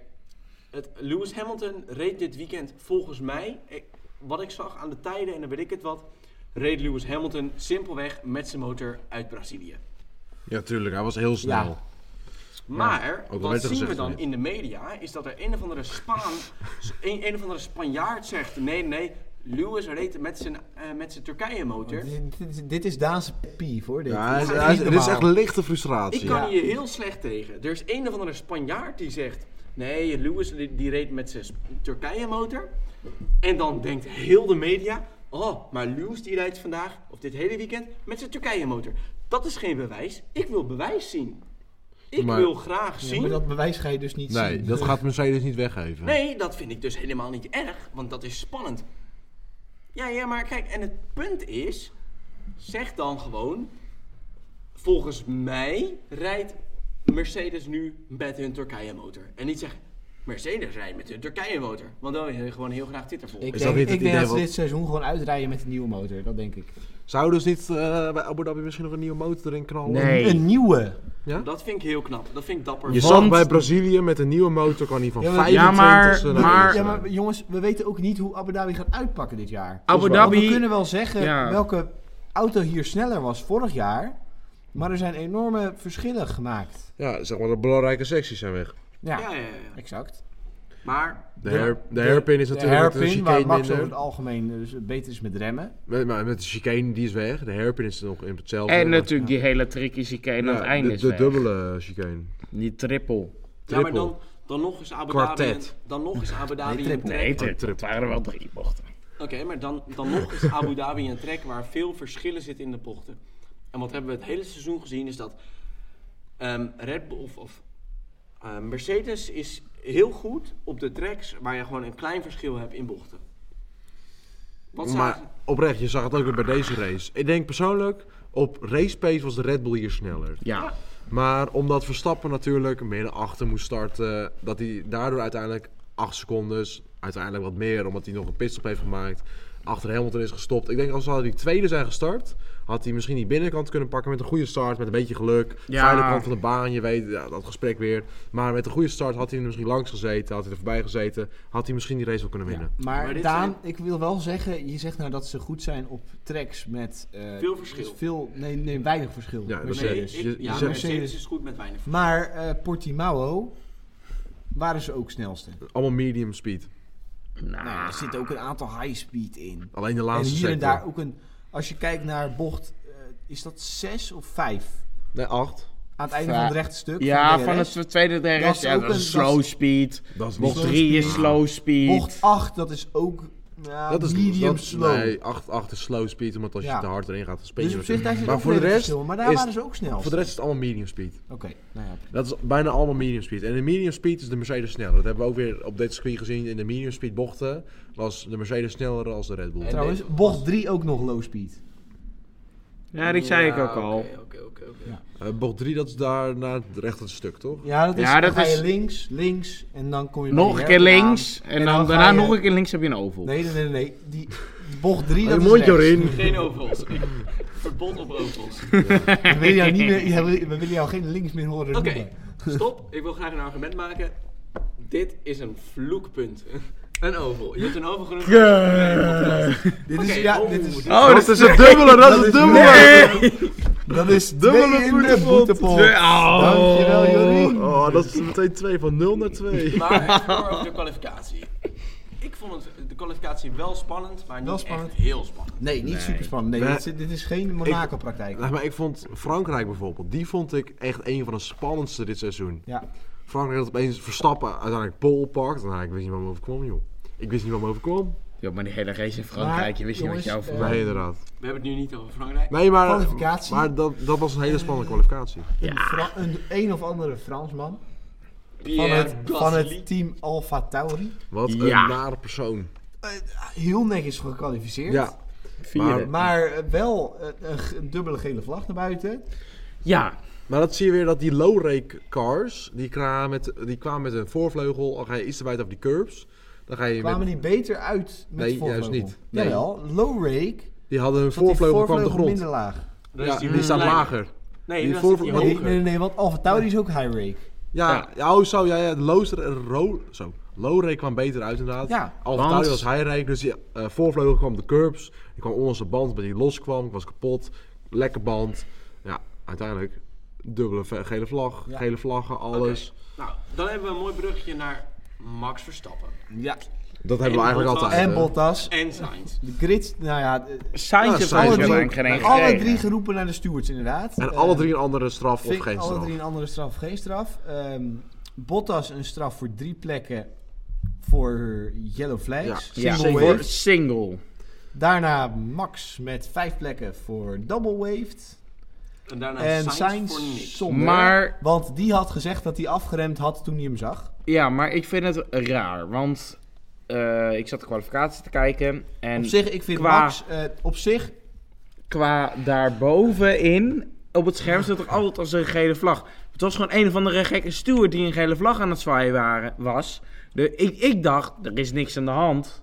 het, Lewis Hamilton reed dit weekend volgens mij, ik- wat ik zag aan de tijden en dan weet ik het wat, reed Lewis Hamilton simpelweg met zijn motor uit Brazilië.
Ja, tuurlijk. Hij was heel snel.
Ja.
Maar
al
wat
werd er
zien we
gezegd
dan
niet.
in de media is dat er een of andere Spaan, een, een of andere Spanjaard zegt, nee, nee, Lewis reed met zijn, eh, met zijn Turkije motor.
Dit, dit is- dit is Daanse pief hoor. Dit,
Ja, hij is-
Dit
hij is- dit is
normaal.
echt lichte frustratie.
Ik kan hier heel slecht tegen. Er is een of andere Spanjaard die zegt: Nee, Lewis die, die reed met zijn Turkije motor. En dan denkt heel de media, oh, maar Lewis die rijdt vandaag, of dit hele weekend, met zijn Turkije motor. Dat is geen bewijs. Ik wil bewijs zien. Ik
Maar-
wil graag
Ja, maar
zien.
dat bewijs ga je dus niet zien.
Nee, dat gaat Mercedes niet weggeven.
Nee, dat vind ik dus helemaal niet erg, want dat is spannend. Ja, ja, maar kijk, en het punt is, zeg dan gewoon, volgens mij rijdt Mercedes nu met hun Turkije motor. En niet zeggen, Mercedes rijdt met hun Turkije motor, want dan wil je gewoon heel graag Twitter volgen.
Ik
Is
denk,
dat niet het
ik denk dat
idee
ze
wat-
dit seizoen gewoon uitrijden met een nieuwe motor. Dat denk ik.
Zouden ze niet eh, bij Abu Dhabi misschien nog een nieuwe motor erin knallen?
Nee.
Een nieuwe.
Dat vind ik heel knap, dat vind ik dapper.
Je
Want-
zag bij Brazilië met een nieuwe motor kan hij van
Ja, maar-
25
Ja, maar-
naar
maar-
eerste.
Ja, maar jongens, we weten ook niet hoe Abu Dhabi gaat uitpakken dit jaar.
Abu
Want We
Dhabi-
kunnen wel zeggen
Ja.
welke auto hier sneller was vorig jaar. Maar er zijn enorme verschillen gemaakt.
Ja, zeg maar de belangrijke secties zijn weg.
Ja,
ja, ja, ja.
exact.
Maar
De,
Ja.
her, de hairpin is
de
natuurlijk de
hairpin,
chicane
waar Max
minder.
over het algemeen eh, dus beter is met remmen.
Met, maar met de chicane die is weg. De hairpin is nog in hetzelfde.
En
maar-
natuurlijk die hele tricky chicane aan
Ja,
het einde
de,
is
de
weg.
dubbele chicane.
Die triple.
Ja, maar
Triple.
dan, dan nog is Abu Dhabi. een-
Kwartet.
Dan nog is Abu Dhabi.
Nee, triple.
een
Nee,
track-
triple. Het waren er wel drie bochten.
Oké, maar dan, dan nog is Abu Dhabi een trek waar veel verschillen zitten in de bochten. En wat hebben we het hele seizoen gezien is dat ehm, Red Bull of, of eh, Mercedes is heel goed op de tracks waar je gewoon een klein verschil hebt in bochten. Wat
Maar
zagen-
oprecht, je zag het ook weer bij deze race. Ik denk persoonlijk, op race pace was de Red Bull hier sneller.
Ja.
Maar omdat Verstappen natuurlijk meer naar achter moest starten, dat hij daardoor uiteindelijk 8 seconden, dus uiteindelijk wat meer, omdat hij nog een pitstop heeft gemaakt, achter Hamilton is gestopt. Ik denk als hij die tweede zijn gestart, had hij misschien die binnenkant kunnen pakken met een goede start, met een beetje geluk.
Ja.
Veilige kant van de baan, je weet, ja, dat gesprek weer. Maar met een goede start had hij er misschien langs gezeten, had hij er voorbij gezeten, had hij misschien die race wel kunnen winnen.
Maar,
Maar dit
Daan, ik wil wel zeggen, je zegt nou dat ze goed zijn op tracks met... eh,
Veel verschil.
Veel, nee, nee, weinig verschil.
Ja, dat
Mercedes.
nee, ik,
Mercedes. Je- je
ja,
zegt-
Mercedes is goed met weinig.
Maar eh, Portimao waren ze ook snelste.
Allemaal medium speed.
Nou,
Nou,
er zit ook een aantal high speed in.
Alleen de
En
laatste
hier en
sector.
daar ook een. Als je kijkt naar bocht, eh, is dat 6 of 5?
Nee, 8.
Aan het einde
Va-
van het rechte stuk.
ja,
de
van
DRS.
het tweede
Dat
DRS.
is
Ja,
ook
dat is
een- dat
slow
is-
speed.
Dat is
Bocht
niet
slow
3 is
speed.
slow speed.
Bocht 8, dat is ook ja,
Dat is
medium
dat-
slow.
Nee, 8 is slow speed, omdat als
Ja.
je te hard erin gaat, dan spin je
dus op zich daar zit
Maar
ook
voor de
redelijk
rest
verschil, Maar daar
is-
waren ze ook snel.
Voor de rest is het allemaal medium speed.
Oké, nou ja.
Dat is bijna allemaal medium speed. En de medium speed is de Mercedes sneller. Dat hebben we ook weer op dit circuit gezien. In de medium speed bochten was de Mercedes sneller dan de Red Bull.
En-
Trouwens, bocht 3 ook nog low speed.
Ja, die zei ik ook
oké,
al.
oké, oké, oké.
Ja.
Eh, bocht 3, dat is daar naar het rechte stuk, toch?
Ja, dat is,
Ja, dat
dan ga je
is-
links, links en dan kom je bij
Nog
die
een keer
herfst aan.
links.
dan
En dan
ga
daarna
je-
nog een keer links heb je een oval.
Nee, nee, nee, nee. Die, die bocht 3,
Je
dat
mondje
is rechts.
erin.
Geen ovals. [LAUGHS] Ik- Verbod op ovals.
We willen jou, niet meer, ja, we we willen jou geen links meer horen
Oké,
noemen.
stop. Ik wil graag een argument maken. Dit is een vloekpunt. Een oval. Je hebt een oval genoemd.
Dit
Oké,
is, ja,
oh,
dit is,
Oh, dat is een
dubbele,
[LAUGHS] dat is het dubbele.
Nee.
dat
[LAUGHS]
is
dubbele
twee in de
voeten
boetepot. Dankjewel, Jorien.
Oh, dat is meteen 2, van 0 naar
[LAUGHS]
2.
Maar even door over de kwalificatie. Ik vond het, de kwalificatie wel spannend, maar niet
Wel spannend.
echt heel spannend.
Nee, niet super spannend. Nee,
Nee.
dit, is- dit is geen Monaco-praktijk.
Nou, maar ik vond Frankrijk bijvoorbeeld, die vond ik echt een van de spannendste dit seizoen.
Ja,
Frankrijk had opeens Verstappen uiteindelijk pole pakt. Nou, ik wist niet wat me overkwam, joh. Ik wist niet wat me overkwam.
Ja, maar die hele race in Frankrijk, je wist niet
jongens,
wat jou
eh,
verwacht.
Nee, inderdaad.
We hebben het nu niet over Frankrijk.
Nee, maar,
Kwalificatie.
maar dat, dat was een hele spannende kwalificatie.
Een, Fra- een, een of andere Fransman van
Pierre
het, van
Gasly.
het team Alfa Tauri.
Wat
Ja.
een nare persoon.
Eh, heel netjes gekwalificeerd.
Ja,
Vierde.
Maar eh, wel eh, een, g- een dubbele gele vlag naar buiten.
Ja,
maar dat zie je weer dat die low-rake cars, die, kra- met, die kwamen met een voorvleugel, al ga je iets te wijd over die curbs. Dan ga je
Kwamen
met,
die beter uit met
Nee,
de voorvleugel?
juist niet. Nee.
Jawel, low rake.
die hadden hun
zat die
voorvleugel kwam op de
voorvleugel
grond.
minder laag.
Dan
Ja,
is
die,
weer
Mm.
staat
kleiner.
lager.
Nee,
Die
dan zit
voor-
hij
maar
Nee,
hoger.
nee, nee, want Alfa Tauri is ook high rake.
Ja, ja. oh zo, ja, ja, de low, ro, zo. low rake kwam beter uit inderdaad.
Ja,
Alfa
want-
Tauri was high rake, dus die eh, voorvleugel kwam op de curbs. Die kwam onder zijn band, maar die los kwam, ik was kapot. Lekker band. Ja, uiteindelijk dubbele ve- gele vlag,
Ja.
gele vlaggen, alles.
Nou, dan hebben we een mooi bruggetje naar Max Verstappen.
Ja.
Dat hebben we
En
eigenlijk
Bottas.
altijd. eh,
En
hè.
Bottas.
En Sainz.
De grid, nou ja, eh,
Sainz
Ja,
heeft
Sainz
eigenlijk
ook.
helemaal geen één
alle
gekregen.
drie geroepen naar de stewards inderdaad.
En
Eh,
alle drie een andere straf of
Vink-
geen
Alle
straf.
drie een andere straf of geen straf. Ehm, Bottas een straf voor drie plekken voor yellow flags.
Ja,
single
ja,
wave.
voor single.
Daarna Max met vijf plekken voor double waved.
En daarna
En
Sainz,
Sainz
voor niks.
zonder.
Maar-
Want die had gezegd dat hij afgeremd had toen hij hem zag.
Ja, maar ik vind het raar, want eh, ik zat de kwalificatie te kijken en
op zich, ik vind
qua-
Max... eh, op zich,
qua daarbovenin op het scherm staat er altijd als een gele vlag. Het was gewoon een of andere gekke steward die een gele vlag aan het zwaaien waren, was. De, ik, ik dacht, er is niks aan de hand.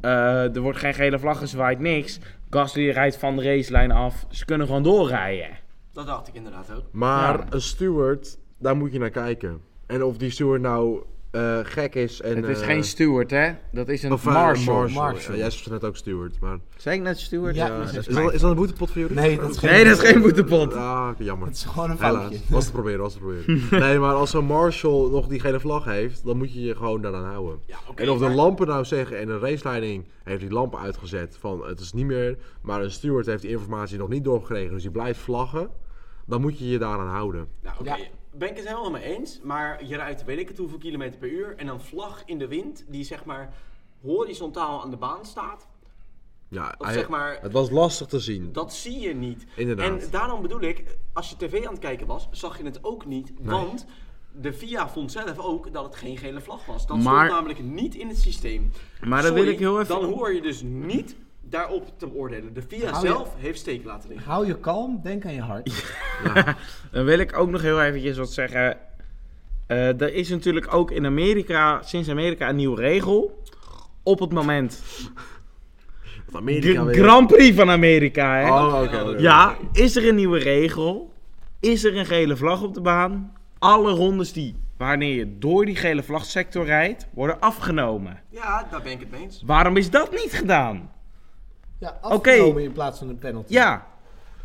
Eh, er wordt geen gele vlag gezwaaid, niks. Gasly rijdt van de racelijn af. Ze kunnen gewoon doorrijden.
Dat dacht ik inderdaad ook.
Maar
Ja.
een steward, daar moet je naar kijken. En of die steward nou eh, gek is en...
het is
eh,
geen steward, hè? Dat is een
of, eh,
marshal.
Marshall.
Ja, jij is net ook steward, maar...
Zeg ik net steward?
Ja,
Ja,
dat
is,
is
dat, is dat een boetepot voor jullie?
nee, dat is geen-
Nee, dat
[LAUGHS]
is geen boetepot.
Ah, jammer.
Het is gewoon een foutje.
Helaas, was te proberen, was te proberen. nee, maar als zo'n Marshall nog die gele vlag heeft, dan moet je je gewoon daaraan houden.
Ja, oké,
en of de
maar-
lampen nou zeggen, en de raceleiding heeft die lampen uitgezet van het is niet meer, maar een steward heeft die informatie nog niet doorgekregen, dus die blijft vlaggen, dan moet je je daaraan houden.
Nou, oké.
Ja.
Ben ik het helemaal mee eens, maar je rijdt weet ik het hoeveel kilometer per uur en een vlag in de wind die zeg maar horizontaal aan de baan staat,
Ja,
Of zeg maar-
het was lastig te zien.
dat zie je niet.
Inderdaad.
En daarom bedoel ik, als je tv aan het kijken was, zag je het ook niet, want de FIA vond zelf ook dat het geen gele vlag was. Dat
Maar-
stond namelijk niet in het systeem.
Maar dan wil ik heel even-
Dan hoor je dus niet daarop te oordelen. De FIA
Hou je-
zelf heeft steek laten liggen.
Hou je kalm, denk aan je hart.
Dan wil ik ook nog heel eventjes wat zeggen. Eh, er is natuurlijk ook in Amerika, sinds Amerika, een nieuwe regel. Op het moment.
Want
De
Amerika weer-
Grand Prix van Amerika, hè?
Oh, oké. oké, oké.
ja, is er een nieuwe regel? Is er een gele vlag op de baan? Alle rondes die, wanneer je door die gele vlagsector rijdt, worden afgenomen.
Ja, daar ben ik het mee eens.
Waarom is dat niet gedaan?
Ja,
Oké.
afgenomen in plaats van een penalty.
Ja,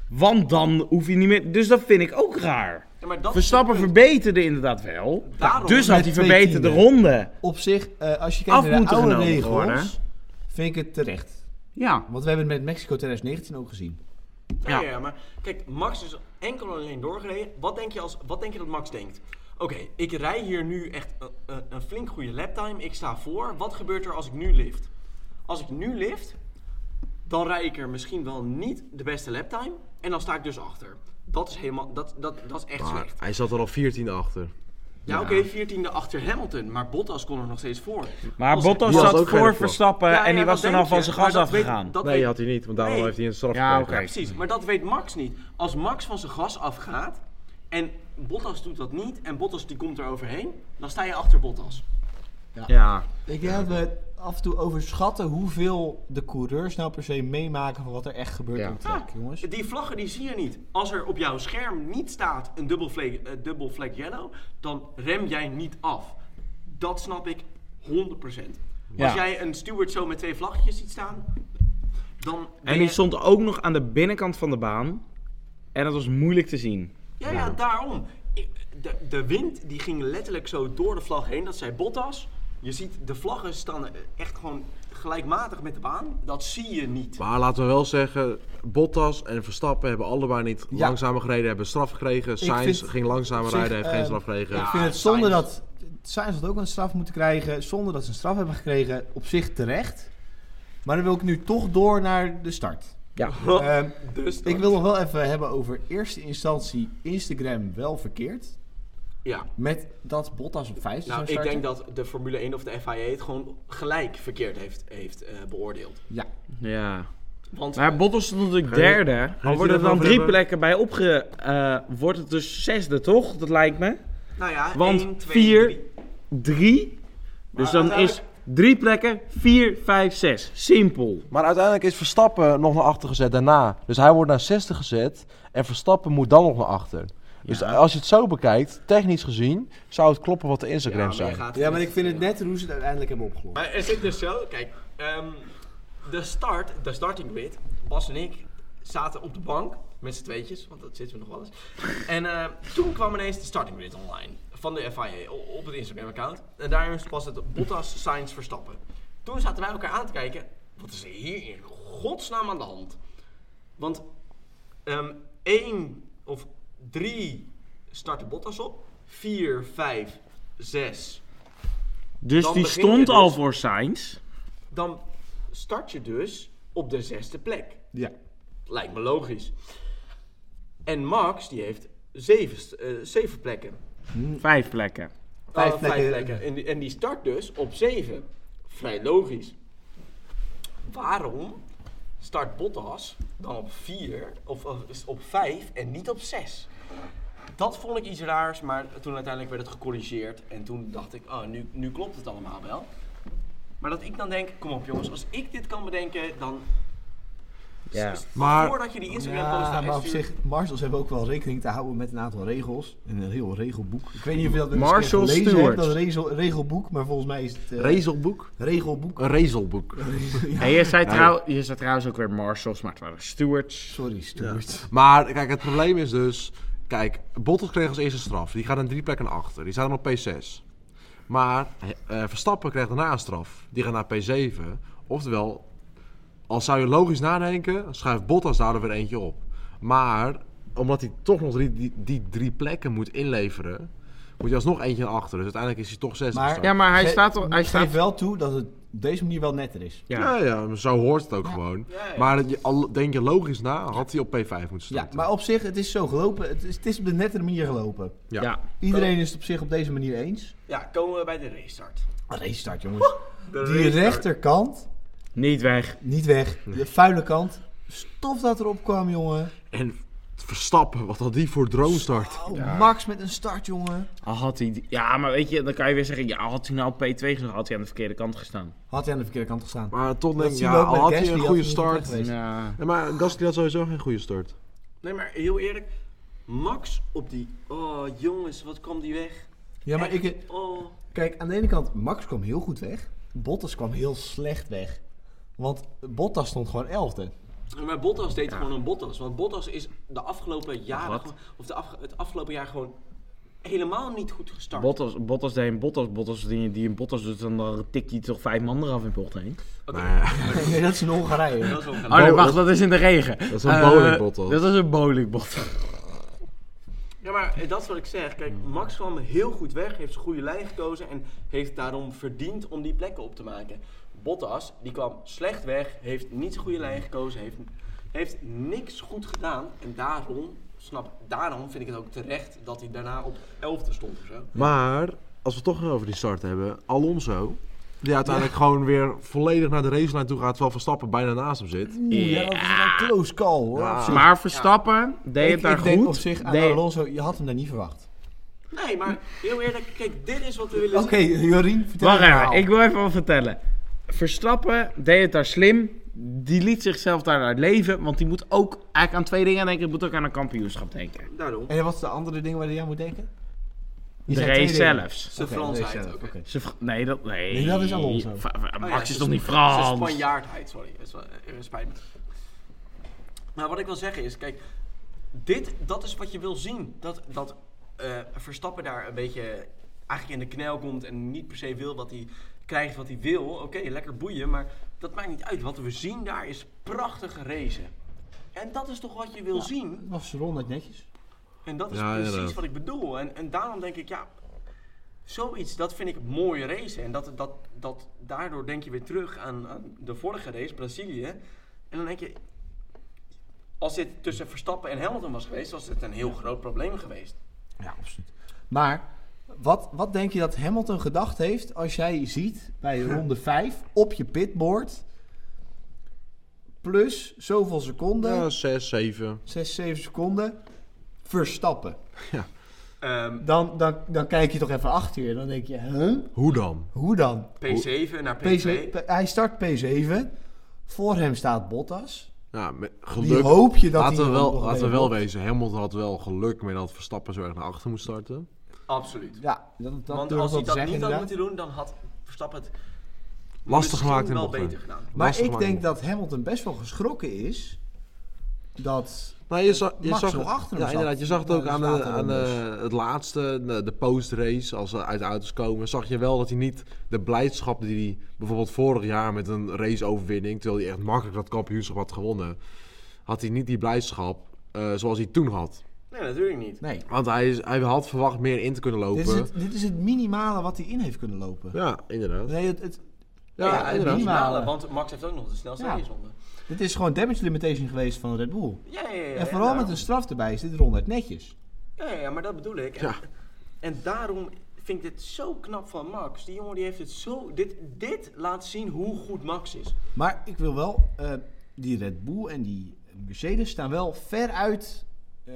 want dan hoef je niet meer. Dus dat vind ik ook raar.
Ja, maar dat
Verstappen verbeterde inderdaad wel.
Daarom
Dus had
met
hij
twee
verbeterde
tienen.
ronde.
Op zich, eh, als je kijkt
Af
naar de
moeten
oude
genomen
regels,
worden.
vind ik het terecht.
Ja.
Want we hebben het met Mexico 2019 ook gezien.
Ja.
Ja.
ja, maar kijk, Max is enkel en alleen doorgereden. Wat denk je, als, wat denk je dat Max denkt? Oké, ik rij hier nu echt een, een, een flink goede laptime. Ik sta voor. Wat gebeurt er als ik nu lift? Als ik nu lift, dan rijd ik er misschien wel niet de beste laptime. En dan sta ik dus achter. Dat is, helemaal, dat, dat, dat is echt
Maar
slecht.
hij zat er al 14 achter.
Ja, oké, 14e achter Hamilton. Maar Bottas kon er nog steeds voor.
Maar
Als-
Bottas
Die was
zat
ook geen
voor
vlag.
Verstappen
Ja,
en die
ja,
was
dat
toen
denk
al van
je.
zijn
Maar
gas
dat weet-
afgegaan.
dat
Nee,
weet-
had hij niet, want daarom
Nee.
heeft hij een straf
Ja,
gekregen.
oké.
Precies, maar dat weet Max niet. Als Max van zijn gas afgaat en Bottas doet dat niet en Bottas die komt er overheen, dan sta je achter Bottas.
Ja.
Ik denk dat we af en toe overschatten hoeveel de coureurs nou per se meemaken van wat er echt gebeurt
Ja.
op de track, jongens.
Die vlaggen die zie je niet. Als er op jouw scherm niet staat een dubbel flag, eh, dubbel flag yellow, dan rem jij niet af. Dat snap ik 100%.
Ja.
Als jij een steward zo met twee vlaggetjes ziet staan, dan ben
En die
je-
stond ook nog aan de binnenkant van de baan. En dat was moeilijk te zien.
Ja, ja, daarom. Ik- De, de wind die ging letterlijk zo door de vlag heen. Dat zei Bottas. Je ziet de vlaggen staan echt gewoon gelijkmatig met de baan. Dat zie je niet.
Maar laten we wel zeggen, Bottas en Verstappen hebben allebei niet
Ja.
langzamer gereden, hebben straf gekregen. Sainz
vind-
ging
op
langzamer
zich,
rijden, heeft
eh,
geen straf gekregen.
ik
Ja,
vind het zonde
Sainz.
dat... Sainz had ook een straf moeten krijgen, zonder dat ze een straf hebben gekregen. Op zich terecht. Maar dan wil ik nu toch door naar de start.
Ja.
Ehm,
Dus
ik wil nog wel even hebben over eerste instantie Instagram wel verkeerd.
Ja.
Met dat Bottas op 5
Nou, ik denk dat de Formule 1 of de FIA het gewoon gelijk verkeerd heeft, heeft eh, beoordeeld.
Ja,
ja.
Want
Maar Bottas stond natuurlijk derde. Al
het
worden er dan
erover
drie
hebben?
plekken bij opge... eh, wordt het dus zesde, toch? Dat lijkt me.
nou ja,
Want
1, 2,
vier-
3.
Drie. Dus dan is
uiteindelijk-
drie plekken vier, vijf, zes. Simpel.
Maar uiteindelijk is Verstappen nog naar achter gezet daarna. Dus hij wordt naar 60 gezet en Verstappen moet dan nog naar achter. Dus als je het zo bekijkt, technisch gezien, zou het kloppen wat de
Ja, maar
Instagram
je
zijn.
gaat
ja maar ik vind het net hoe ze het uiteindelijk hebben opgelost.
Maar er zit dus zo, kijk, ehm, de start, de starting grid, Bas en ik zaten op de bank met z'n tweetjes, want dat zitten we nog wel eens. En eh, toen kwam ineens de starting grid online van de FIA o- op het Instagram-account. En daarin was het Bottas, Sainz, Verstappen. Toen zaten wij elkaar aan te kijken, wat is er hier in godsnaam aan de hand? Want ehm één of drie starten Bottas op. Vier, vijf, zes.
Dus
Dan
die
begin je
stond
dus-
al voor Sainz.
Dan start je dus op de zesde plek.
Ja.
Lijkt me logisch. En Max, die heeft zeven, st- eh, zeven plekken.
Vijf plekken.
Vijf
Oh,
plekken.
En, die, en die start dus op 7. Vrij logisch. Waarom start Bottas dan op 4 of, of is op 5 en niet op 6? Dat vond ik iets raars, maar toen uiteindelijk werd het gecorrigeerd. En toen dacht ik, oh, nu, nu klopt het allemaal wel. Maar dat ik dan denk, kom op jongens, als ik dit kan bedenken, dan...
Ja.
Maar-
Voordat je die Instagram post
Ja,
daar
maar op zich, Marshals hebben ook wel rekening te houden met een aantal regels. En een heel regelboek. Ik weet niet of je dat wel eens een keer
Marshall
gelezen
Stewart.
hebt, dat regel, regelboek. Maar volgens mij is het eh,
Rezelboek?
regelboek.
Een rezelboek.
En je, zei trouw, je zei trouwens ook weer Marshals, maar het waren Stewards.
Sorry, Stewart.
Maar kijk, het probleem is dus... Kijk, Bottas kreeg als eerste straf. Die gaat een drie plekken achter. Die staat dan op P6. Maar eh, Verstappen kreeg daarna een straf. Die gaat naar P7. Oftewel, als zou je logisch nadenken, schuift Bottas daar weer eentje op. Maar omdat hij toch nog drie, die, die drie plekken moet inleveren, moet je alsnog eentje naar achter. Dus uiteindelijk is hij toch
[LAUGHS]
zes.
Maar-
Ja, maar hij
Ge-
staat al... Hij
Ik geef
staat,
wel toe dat het op deze manier wel netter is.
ja.
Ja, ja, maar zo hoort het ook gewoon.
Ja, ja.
Maar je, al, denk je logisch na, had hij op P5 moeten
Ja,
starten.
maar op zich, het is zo gelopen. Het is, het is op de nettere manier gelopen.
Ja.
ja.
Iedereen is het op zich op deze manier eens.
Ja, komen we bij de restart.
Een race start, jongens. Die rechterkant,
Niet weg.
niet weg. De vuile kant. Stof dat erop kwam, jongen.
En Verstappen, wat had die voor drone start?
Oh, Max met een start, jongen.
Al had hij... die- Ja, maar weet je, dan kan je weer zeggen... Ja, had hij nou op P2 gezien, had hij aan de verkeerde kant gestaan.
Had hij aan de verkeerde kant gestaan.
Maar toch
Dat
denk ik,
zien we
ja,
ook met
al had
Gasly,
hij een
had
goede
hij niet weg
start.
geweest.
Ja.
Ja, maar Gasly had sowieso geen goede start.
Nee, maar heel eerlijk. Max op die... Oh, jongens, wat kwam die weg.
Ja, maar
Echt,
ik,
Oh.
Kijk, aan de ene kant, Max kwam heel goed weg. Bottas kwam heel slecht weg. Want Bottas stond gewoon elfde. [LAUGHS]
Maar Bottas deed gewoon een Bottas. Want Bottas is de afgelopen jaren...
wat?
gewoon- Of de afge- het afgelopen jaar gewoon helemaal niet goed gestart.
Bottas, Bottas deed een Bottas, Bottas die, die een Bottas doet, dan- dan tikt hij toch vijf man eraf in bocht heen.
Oké,
nee, dat is een Hongarije.
dat is wel
Oh nee,
Bo-
wacht, dat is in de regen.
Dat is een
Eh,
bowlingbottas.
Dat is een bowlingbottas.
Ja, maar eh, dat is wat ik zeg. Kijk, Max kwam heel goed weg, heeft zijn goede lijn gekozen en heeft daarom verdiend om die plekken op te maken. Bottas, die kwam slecht weg, heeft niet zijn goede lijn gekozen, heeft, heeft niks goed gedaan. En daarom, snap, daarom vind ik het ook terecht dat hij daarna op 11 stond of zo.
Maar, als we het toch nog over die start hebben, Alonso, die uiteindelijk gewoon weer volledig naar de racelijn toe gaat, terwijl Verstappen bijna naast hem zit.
Oeh, ja, dat was een close call hoor.
Ja.
Op zich.
Maar Verstappen deed
Ik-
het daar
ik
goed.
denk op zich aan
Deed-
Alonso, je had hem daar niet verwacht.
Nee, maar heel eerlijk, kijk, dit is wat we willen
Oké, Jorien, vertel
Wacht
je
even,
verhaal.
ik wil even wat vertellen. Verstappen deed het daar slim. Die liet zichzelf daaruit leven, want die moet ook eigenlijk aan twee dingen denken. Die moet ook aan een kampioenschap denken.
zien. Daarom.
En wat is de andere ding waar je aan moet denken? Je
De
zei twee
race
dingen.
zelfs.
Zijn
Oké, de race
Fransheid
zelf,
ook.
oké.
Ze vra- nee, dat, nee.
Nee, dat is Alonso.
Va- va-
Oh
Max
ja,
is
zijn
toch niet
Sp-
Frans?
zijn Spanjaardheid, sorry. Dat is wel, eh, spijt me. Maar wat ik wil zeggen is, kijk, dit, dat is wat je wil zien. Dat, dat eh, Verstappen daar een beetje eigenlijk in de knel komt en niet per se wil wat hij krijgt wat hij wil. Oké, lekker boeien, maar dat maakt niet uit. Wat we zien daar is prachtige racen. En dat is toch wat je wil zien?
Dat was ronduit netjes.
En dat is
Ja,
precies
inderdaad.
wat ik bedoel. En, en daarom denk ik, ja, zoiets, dat vind ik mooie race. En dat, dat, dat, daardoor denk je weer terug aan, aan de vorige race, Brazilië. En dan denk je, als dit tussen Verstappen en Hamilton was geweest, was het een heel groot probleem geweest.
Ja, absoluut. Maar wat, wat denk je dat Hamilton gedacht heeft als jij ziet bij ronde 5 op je pitboard plus zoveel seconden,
Ja, 6, 7.
6, 7 seconden, verstappen?
Ehm,
Dan, dan, dan kijk je toch even achter je. Dan denk je, huh?
Hoe dan?
Hoe dan?
P7 naar P2.
P7 hij start P7. Voor hem staat Bottas.
Ja, met geluk.
Die hoop je dat
laten
hij
we
nog
wel,
nog
laten we
even
wel
op-
wezen, Hamilton had wel geluk met dat Verstappen zo erg naar achter moest starten.
Absoluut.
Ja, dat, dat
Want
durf ik
als
wel
hij
te
dat
zeggen
niet had
inderdaad.
moeten doen, dan had Verstappen het
Lastig gemaakt in
misschien wel
bochten.
beter gedaan.
Maar
Lastig
ik
gemaakt in
denk dat Hamilton best wel geschrokken is dat
Nou, je, za- je
Eh, Max
zag
zo
het,
achter hem
ja,
zat.
inderdaad, je zag het
Ja,
ook
dus
aan, de,
later
aan
dan dus.
de- het laatste, de, de post-race, als ze uit de auto's komen, zag je wel dat hij niet de blijdschap die hij bijvoorbeeld vorig jaar met een raceoverwinning, terwijl hij echt makkelijk dat kampioenschap had gewonnen, had hij niet die blijdschap eh, zoals hij toen had.
Nee, natuurlijk niet.
Nee.
Want hij, is, hij had verwacht meer in te kunnen lopen.
Dit is, het, dit is het minimale wat hij in heeft kunnen lopen.
Ja, inderdaad.
Nee, het, het,
Ja,
Ja,
het
inderdaad.
minimaal.
minimale, want Max heeft ook nog de snelste
Ja.
raceronde.
dit is gewoon damage limitation geweest van Red Bull.
Ja, ja, ja, ja.
en vooral
daarom.
met een straf erbij is dit ronde het netjes.
Ja, ja, maar dat bedoel ik. En,
Ja.
en daarom vind ik dit zo knap van Max. Die jongen die heeft het zo... Dit, dit laat zien hoe goed Max is.
Maar ik wil wel, eh, die Red Bull en die Mercedes staan wel veruit eh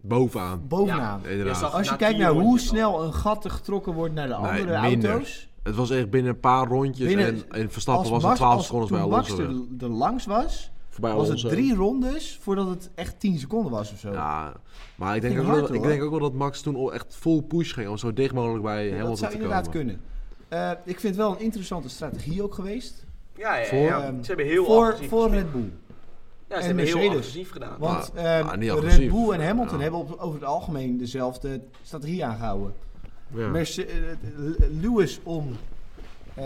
Bovenaan.
bovenaan.
Inderdaad.
zag-
Als je
Na
kijkt
tien
naar hoe
rondjes
snel een gat er getrokken wordt naar de
Nee,
andere
minder.
auto's.
Het was echt binnen een paar rondjes
Binnen-
en, en Verstappen
Als
was
Max-
er 12
als
seconden
toen
bij
Max
Alonso. weg.
er, er langs was,
Voorbij
was het
Alonso.
drie rondes voordat het echt 10 seconden was of zo.
Ja, maar ik denk,
Ging
ook wel,
hard,
ik
hoor.
denk ook wel dat Max toen al echt vol push ging om zo dicht mogelijk bij
Ja,
Hamilton
dat zou
te komen.
inderdaad kunnen. Eh, ik vind het wel een interessante strategie ook geweest.
Ja, ja, ja.
Voor,
ehm,
ze hebben heel
voor,
agressief
voor
gespeeld.
Red Bull.
Ja, ze
en
hebben heel
Mercedes.
agressief gedaan.
Want
Maar-
ehm,
maar niet
Red
agressief.
Bull en Hamilton
Ja.
hebben op, over het algemeen dezelfde strategie aangehouden.
Ja.
Merce- eh, Lewis om, eh,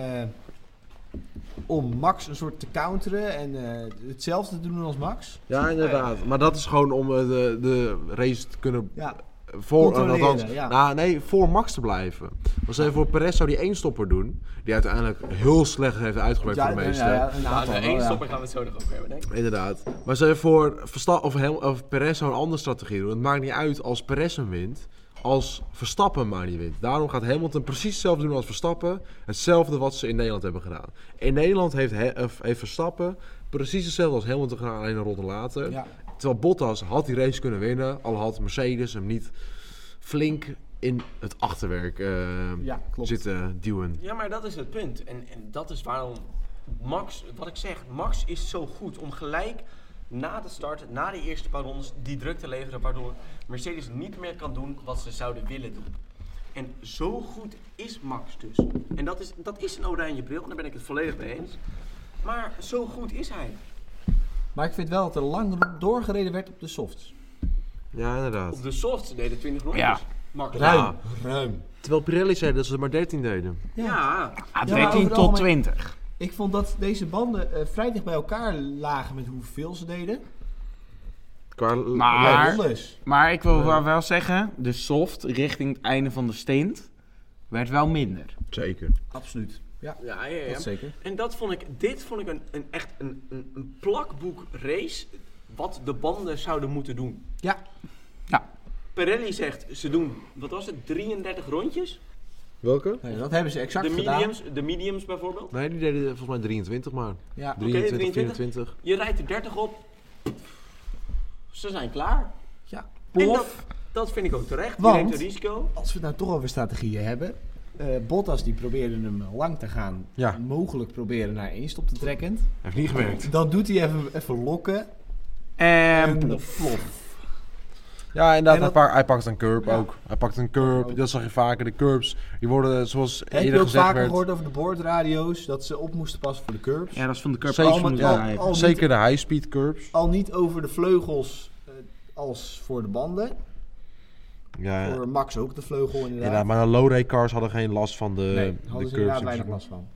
om Max een soort te counteren en eh, hetzelfde te doen als Max.
Ja, inderdaad. Maar dat is gewoon om eh, de, de race te kunnen...
Ja,
Voor, eh,
Controleren,
althans,
ja.
nou, nee, voor Max te blijven. Want even voor Perez zou die éénstopper doen. Die uiteindelijk heel slecht heeft uitgewerkt
ja,
voor de
ja,
meeste.
ja, een
Nou,
aantal.
de
wel,
één
ja.
stopper gaan we het zo nog over hebben, denk ik.
Inderdaad. Maar stel je voor Verstappen of, Ham- of Perez zou een andere strategie doen. Het maakt niet uit als Perez hem wint, als Verstappen maar niet wint. Daarom gaat Hamilton precies hetzelfde doen als Verstappen. Hetzelfde wat ze in Nederland hebben gedaan. In Nederland heeft, He- of heeft Verstappen precies hetzelfde als Hamilton gedaan, alleen een ronde later.
Ja.
Terwijl Bottas had die race kunnen winnen, al had Mercedes hem niet flink in het achterwerk eh,
Ja, klopt.
zitten duwen.
Ja, maar dat is het punt. En, en dat is waarom Max, wat ik zeg, Max is zo goed om gelijk na de start, na de eerste paar rondes, die druk te leveren. Waardoor Mercedes niet meer kan doen wat ze zouden willen doen. En zo goed is Max dus. En dat is, dat is een oranje bril, en daar ben ik het volledig mee eens. Maar zo goed is hij.
Maar ik vind wel dat er lang doorgereden werd op de softs.
Ja, inderdaad.
Op de softs deden 20 rondes.
Ja.
Max.
Ruim.
Ja.
Ruim.
Terwijl Pirelli zei dat ze er maar 13 deden.
ja.
Ah,
Ja, maar
13
over het
tot
algemeen-
20.
Ik vond dat deze banden eh, vrij dicht bij elkaar lagen met hoeveel ze deden.
Qua l-
Maar-
Ja, rondes.
Maar ik wil wel- wel zeggen, de soft richting het einde van de stint werd wel minder.
Zeker.
Absoluut. Ja,
Ja, ja, ja.
dat zeker.
En dat vond ik, dit vond ik een, een echt een, een, een plakboek race wat de banden zouden moeten doen.
Ja,
Pirelli zegt ze doen, wat was het, 33 rondjes?
Welke?
nee, dat hebben ze exact
De
gedaan.
mediums, de mediums bijvoorbeeld.
Nee, die deden volgens mij 23 maar.
Ja.
23,
23.
24.
Je rijdt er 30 op. Ze zijn klaar.
ja.
En
Of,
dat, dat vind ik ook terecht.
Want-
Je neemt een risico.
als we het nou toch over strategieën hebben. eh, Bottas die probeerde hem lang te gaan.
Ja.
Mogelijk proberen naar één stop te trekken.
Heeft niet gewerkt.
Dan doet hij even, even lokken.
Ehm, En
En
plof.
plof.
Ja, inderdaad.
En dat-
Hij, pak- hij pakt een curb
Ja.
ook. Hij pakt een curb.
Ook.
Dat zag je vaker. De curbs, die worden zoals
Heb je
eerder
ook
gezegd
vaker
werd...
gehoord over de boordradio's. Dat ze op moesten passen voor de curbs.
Ja, dat is van de curb
Zeker,
af moeten
ja.
rijden.
Al niet-
Zeker de high-speed curbs.
Al niet over de vleugels eh, als voor de banden.
Ja,
Voor Max ook de vleugel inderdaad.
inderdaad. Maar de low-rate cars hadden geen last van de,
nee,
de
hadden ze
curbs.
inderdaad weinig last van.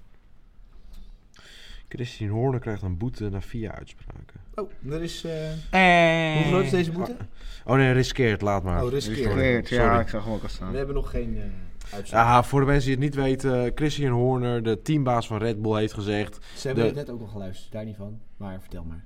Christian Horner krijgt een boete na via uitspraken.
Oh, er is... eh,
En...
Hoe groot is deze boete?
Oh nee, riskeert. Laat maar.
Oh, riskeert.
Geert,
Ah, Sorry.
Ja, ik zag hem ook al staan.
We hebben nog geen eh uitslag.
Ja, voor de mensen die het niet weten, Christian Horner, de teambaas van Red Bull, heeft gezegd...
Ze hebben
de- Ah,
het net ook al geluisterd, daar niet van. Maar vertel maar.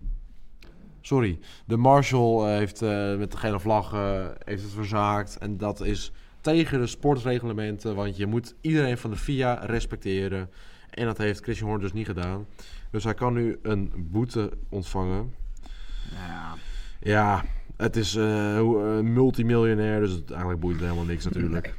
Sorry, de marshal eh, heeft eh, met de gele vlag eh, heeft het verzaakt. En dat is tegen de sportreglementen, want je moet iedereen van de FIA respecteren. En dat heeft Christian Horner dus niet gedaan. Dus hij kan nu een boete ontvangen.
Ja.
Ja, het is eh, hoe- een multimiljonair, dus het, eigenlijk boeit het helemaal niks
[LAUGHS]
natuurlijk.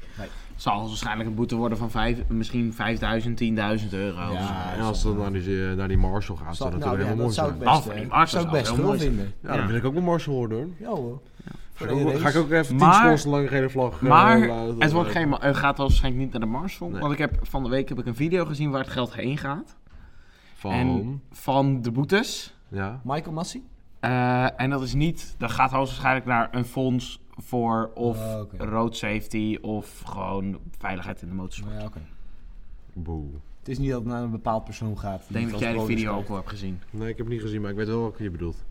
zal waarschijnlijk een boete worden van vijf, misschien 5000, 10.000 euro.
Ja.
En als het dan naar die, eh, naar die marshal gaat, zou dat
nou,
natuurlijk
ja,
helemaal
dat zou
mooi
ik best,
zijn.
Behalve
eh,
die Mars,
zou ik
dat
best
zou heel
cool
mooi
vinden.
Ja, dan
Ja.
wil ik ook mijn marshal worden hoor.
Ja hoor.
Ga
Voor
ik
de
ook,
race.
ga ik ook even 10
Maar-
seconden lang gele vlag... eh,
Maar
laten-
het wordt geen, ma- het gaat waarschijnlijk niet naar de Marshall.
Nee.
Want ik heb, van de week heb ik een video gezien waar het geld heen gaat.
Van...
En van de boetes.
Ja.
Michael Massi?
Eh, en dat is niet, dat gaat hoogstwaarschijnlijk naar een fonds voor of
Oh, oké.
road safety of gewoon veiligheid in de motorsport.
Ja, oké.
Boe.
Het is niet dat het naar een bepaald persoon gaat.
Ik denk dat jij de video ook wel hebt gezien.
Nee, ik heb het niet gezien, maar ik weet wel wat je bedoelt.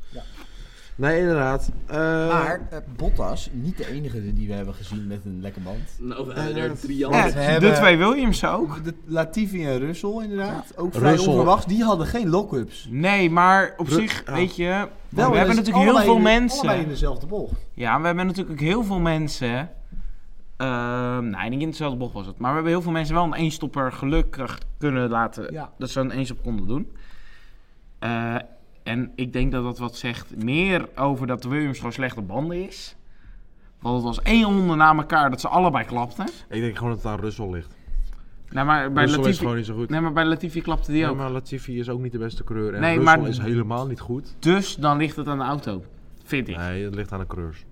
Nee, inderdaad. Eh,
Maar eh, Bottas, niet de enige die we hebben gezien met een lekker band.
Nou, we
Eh,
hebben er drie
Ja,
andere.
we
Eh, de
hebben-
twee Williams ook.
De Latifi en Russell inderdaad, ook vrij
Russell.
onverwacht. Die hadden geen lock-ups.
Nee, maar op
Ru-
zich,
ja.
weet je, we
Wel in
hebben
de-
natuurlijk heel
allebei
veel
in de-
mensen.
Allebei in dezelfde bocht.
Ja, we hebben natuurlijk ook heel veel mensen. ehm nee, niet in dezelfde bocht was het. Maar we hebben heel veel mensen wel een eenstopper gelukkig kunnen laten.
Ja.
Dat ze een eenstop konden doen. Eh, en ik denk dat dat wat zegt meer over dat de Williams gewoon slechte banden is. Want het was één ronde na elkaar dat ze allebei klapten.
ik denk gewoon dat het aan Russell ligt.
Nee, maar bij,
Russell is
Latifi,
gewoon niet zo goed.
nee, maar bij Latifi klapte die
Ja,
ook.
maar Latifi is ook niet de beste coureur. En
Nee,
Russell
maar-
is helemaal niet goed.
Dus dan ligt het aan de auto. Vind ik.
Nee, het ligt aan de coureurs.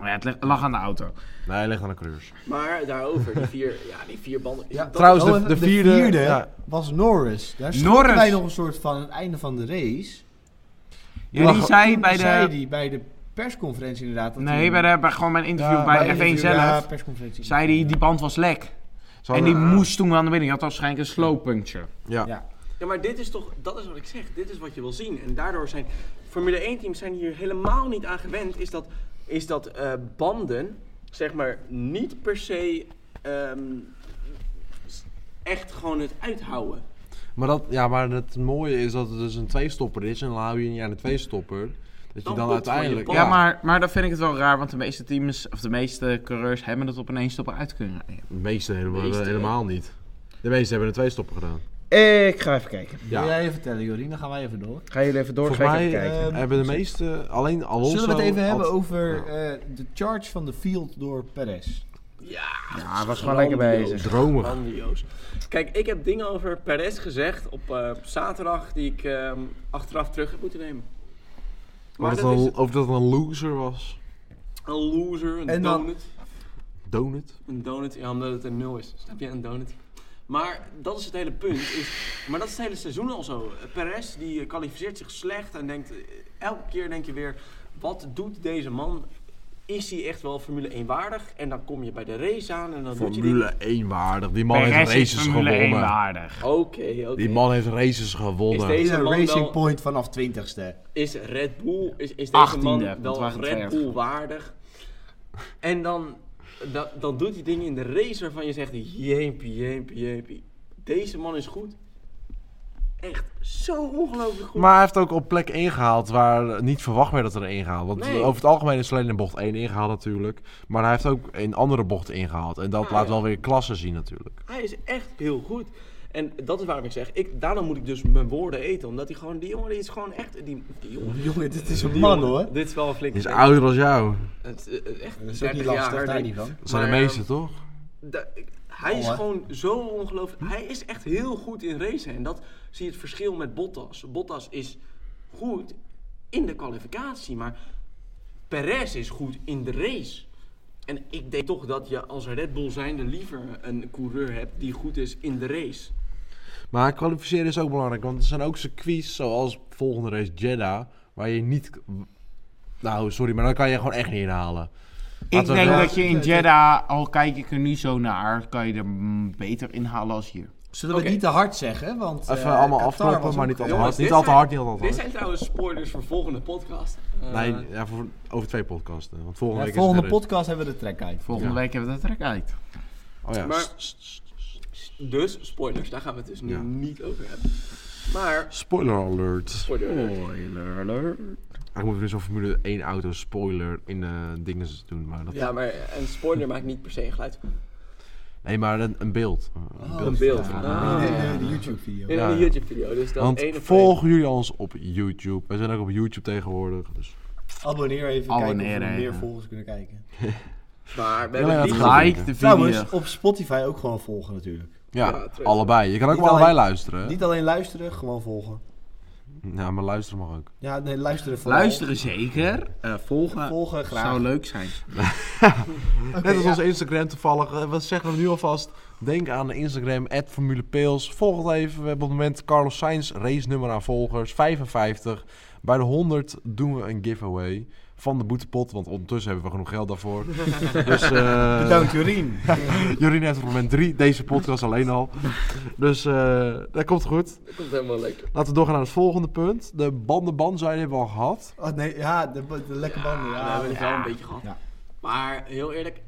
Maar Ja, het leg- lag aan de auto.
Nee, het ligt aan de coureurs.
Maar daarover, die vier, ja, die vier banden.
Eh. Ja,
dat-
Trouwens,
Oh,
de,
en
de vierde... ja.
was Norris. Daar
Norris.
stonden wij nog een soort van aan het einde van de race.
Jullie
Lag-
zei
Toen
bij de...
zei die bij de persconferentie inderdaad. Dat
Nee,
hij-
bij, de, bij gewoon mijn interview
Ja,
bij F1
interview-
zelf.
ja, persconferentie.
zei hij, die band was lek.
Ze
en die
hadden-
moest toen aan de binnen. Die had waarschijnlijk een slow puncture.
Ja.
Ja.
Ja, maar dit is toch, dat is wat ik zeg, dit is wat je wil zien. En daardoor zijn Formule 1 teams zijn hier helemaal niet aan gewend, is dat, is dat eh, banden, zeg maar, niet per se ehm, s- echt gewoon het uithouden.
Maar, dat, ja, maar het mooie is dat het dus een tweestopper is. En dan hou je niet aan de tweestopper. Dat je
Dan
dan,
komt van je
uiteindelijk...
bal.
Ja, maar, maar dan vind ik het wel raar, want de meeste teams, of de meeste coureurs, hebben het op een eenstopper uit kunnen rijden.
De meeste helemaal,
De meeste,
helemaal niet. De meeste hebben een tweestopper gedaan.
Ik ga even kijken.
Ja.
Wil jij even vertellen, Jorien? Dan gaan wij even door.
Ga jullie even door,
Volgens
ga ik
mij
even kijken.
kijken.
eh, hebben de meeste... Alleen Alonso...
Zullen we het even
had-
hebben over eh, de charge van de field door Perez?
Ja,
Ja, hij was gewoon lekker bezig.
Dromen.
Grandioos. Kijk, ik heb dingen over Perez gezegd op eh, op zaterdag die ik ehm, achteraf terug heb moeten nemen. Maar
Maar
dat is
dat of dat een loser was.
een loser, een
En dan-
donut.
Donut.
Een donut, ja, omdat het een nul is. Snap je? Een donut. Maar dat is het hele punt. Is, maar dat is het hele seizoen al zo. Eh, Perez die eh, kwalificeert zich slecht en denkt... eh, Elke keer denk je weer, wat doet deze man? Is hij echt wel Formule 1 waardig? En dan kom je bij de race aan en dan doet hij...
Formule 1 waardig. Die man heeft
Perez is
races
Formule 1
gewonnen.
waardig.
die- Oké, oké.
Die man heeft races gewonnen.
Is
Is
deze
een
man
Racing
wel-
Point vanaf 20ste.
Is Red Bull... Is, is deze
18e,
man
want
wel
wij gaan
Red
verder.
Bull waardig? En dan, dan, dan doet hij dingen in de race waarvan je zegt... Jeepie, jeepie, jeepie. Deze man is goed. Echt zo ongelooflijk goed.
Maar hij heeft ook op plek 1 gehaald waar niet verwacht werd dat er één gehaald. Want
Nee.
over het algemeen is alleen in bocht 1 ingehaald natuurlijk. Maar hij heeft ook een andere bocht ingehaald. En dat
Ah,
laat
ja.
wel weer klasse zien natuurlijk.
Hij is echt heel goed. En dat is waarom ik zeg, ik, daarom moet ik dus mijn woorden eten. Omdat die gewoon, die jongen die is gewoon echt... Die, die jongen,
Jongen, dit is een
die
man
jongen,
hoor.
Dit is wel een
Hij
flinke.
is ouder dan jou.
Het, eh, echt
Dat is ook
30
niet
jaar.
lastig, daar
denk
niet
ik.
van.
Dat zijn
Maar, eh, ehm,
de meeste toch?
Da- ik- hij is
Oh, hè.
gewoon zo ongelooflijk. Hij is echt heel goed in racen. En dat zie je het verschil met Bottas. Bottas is goed in de kwalificatie, maar Perez is goed in de race. En ik denk toch dat je als Red Bull zijnde liever een coureur hebt die goed is in de race.
Maar kwalificeren is ook belangrijk. Want er zijn ook circuits zoals volgende race Jeddah. Waar je niet... Nou sorry, maar dan kan je gewoon echt niet inhalen.
Ik
Laten we
denk
wel-
dat je in Jeddah, al kijk ik er nu zo naar, kan je er mm, beter inhalen als hier.
Zullen we
Oké.
het niet te hard zeggen? Want,
Even
eh,
allemaal
Qatar
afkloppen,
was
maar
ook-
niet al te
Jongens,
hard. Niet
dit
al te
zijn-
hard, niet al te
Dit
hard.
zijn trouwens spoilers voor volgende podcast. Eh,
Nee, ja, voor, over twee podcasten. Want
Ja,
volgende week
volgende
is het weer
podcast hebben we de track uit.
Volgende
Ja.
week hebben we dat trek uit.
rust. Oh ja.
Maar- Dus spoilers, daar gaan we het dus nu
Ja.
niet over hebben. Maar
Spoiler alert.
spoiler.
Oh.
Spoiler alert.
Ik moet nu zo'n dus Formule 1 auto spoiler in eh dingen doen. Maar dat...
Ja, maar een spoiler maakt niet per se een geluid.
Nee, maar een, een beeld. Een
Oh,
beeld.
Een beeld.
ja.
Ah.
In de, in de YouTube-video.
In
Ja.
een YouTube-video. Dus dan
Want
één op
volgen jullie ons op YouTube. Wij zijn ook op YouTube tegenwoordig. Dus
Abonneer even,
Abonneer
kijken of we
even.
meer volgers kunnen kijken.
één. Maar we
Ja,
hebben
ja,
die
het gaat.
Like de video.
Trouwens, op Spotify ook gewoon volgen natuurlijk.
ja,
Ja, terug.
allebei. Je kan ook
Niet
wel allebei
alleen-
luisteren. hè?
Niet alleen luisteren, gewoon volgen.
Ja, maar luisteren mag ook.
Ja, nee, luisteren vooral.
Luisteren zeker. Eh, volgen
Volgen graag.
zou leuk zijn.
Net als ons Instagram toevallig. eh, Wat zeggen we nu alvast? Denk aan de Instagram, Formule Volg het even. We hebben op het moment Carlos Sainz race nummer aan volgers. 55. Bij de 100 doen we een giveaway. van de boetepot. Want ondertussen hebben we genoeg geld daarvoor. dus, eh,
Bedankt Jorien.
Jorien heeft op moment drie deze podcast alleen al. Dus eh, dat komt goed.
Dat komt helemaal lekker.
Laten we doorgaan naar het volgende punt. De bandenbanzijn hebben we al
[LAUGHS]
gehad.
Oh nee, ja, de, de lekkere banden.
we
Ja,
hebben het wel een beetje gehad.
Ja.
Maar heel eerlijk,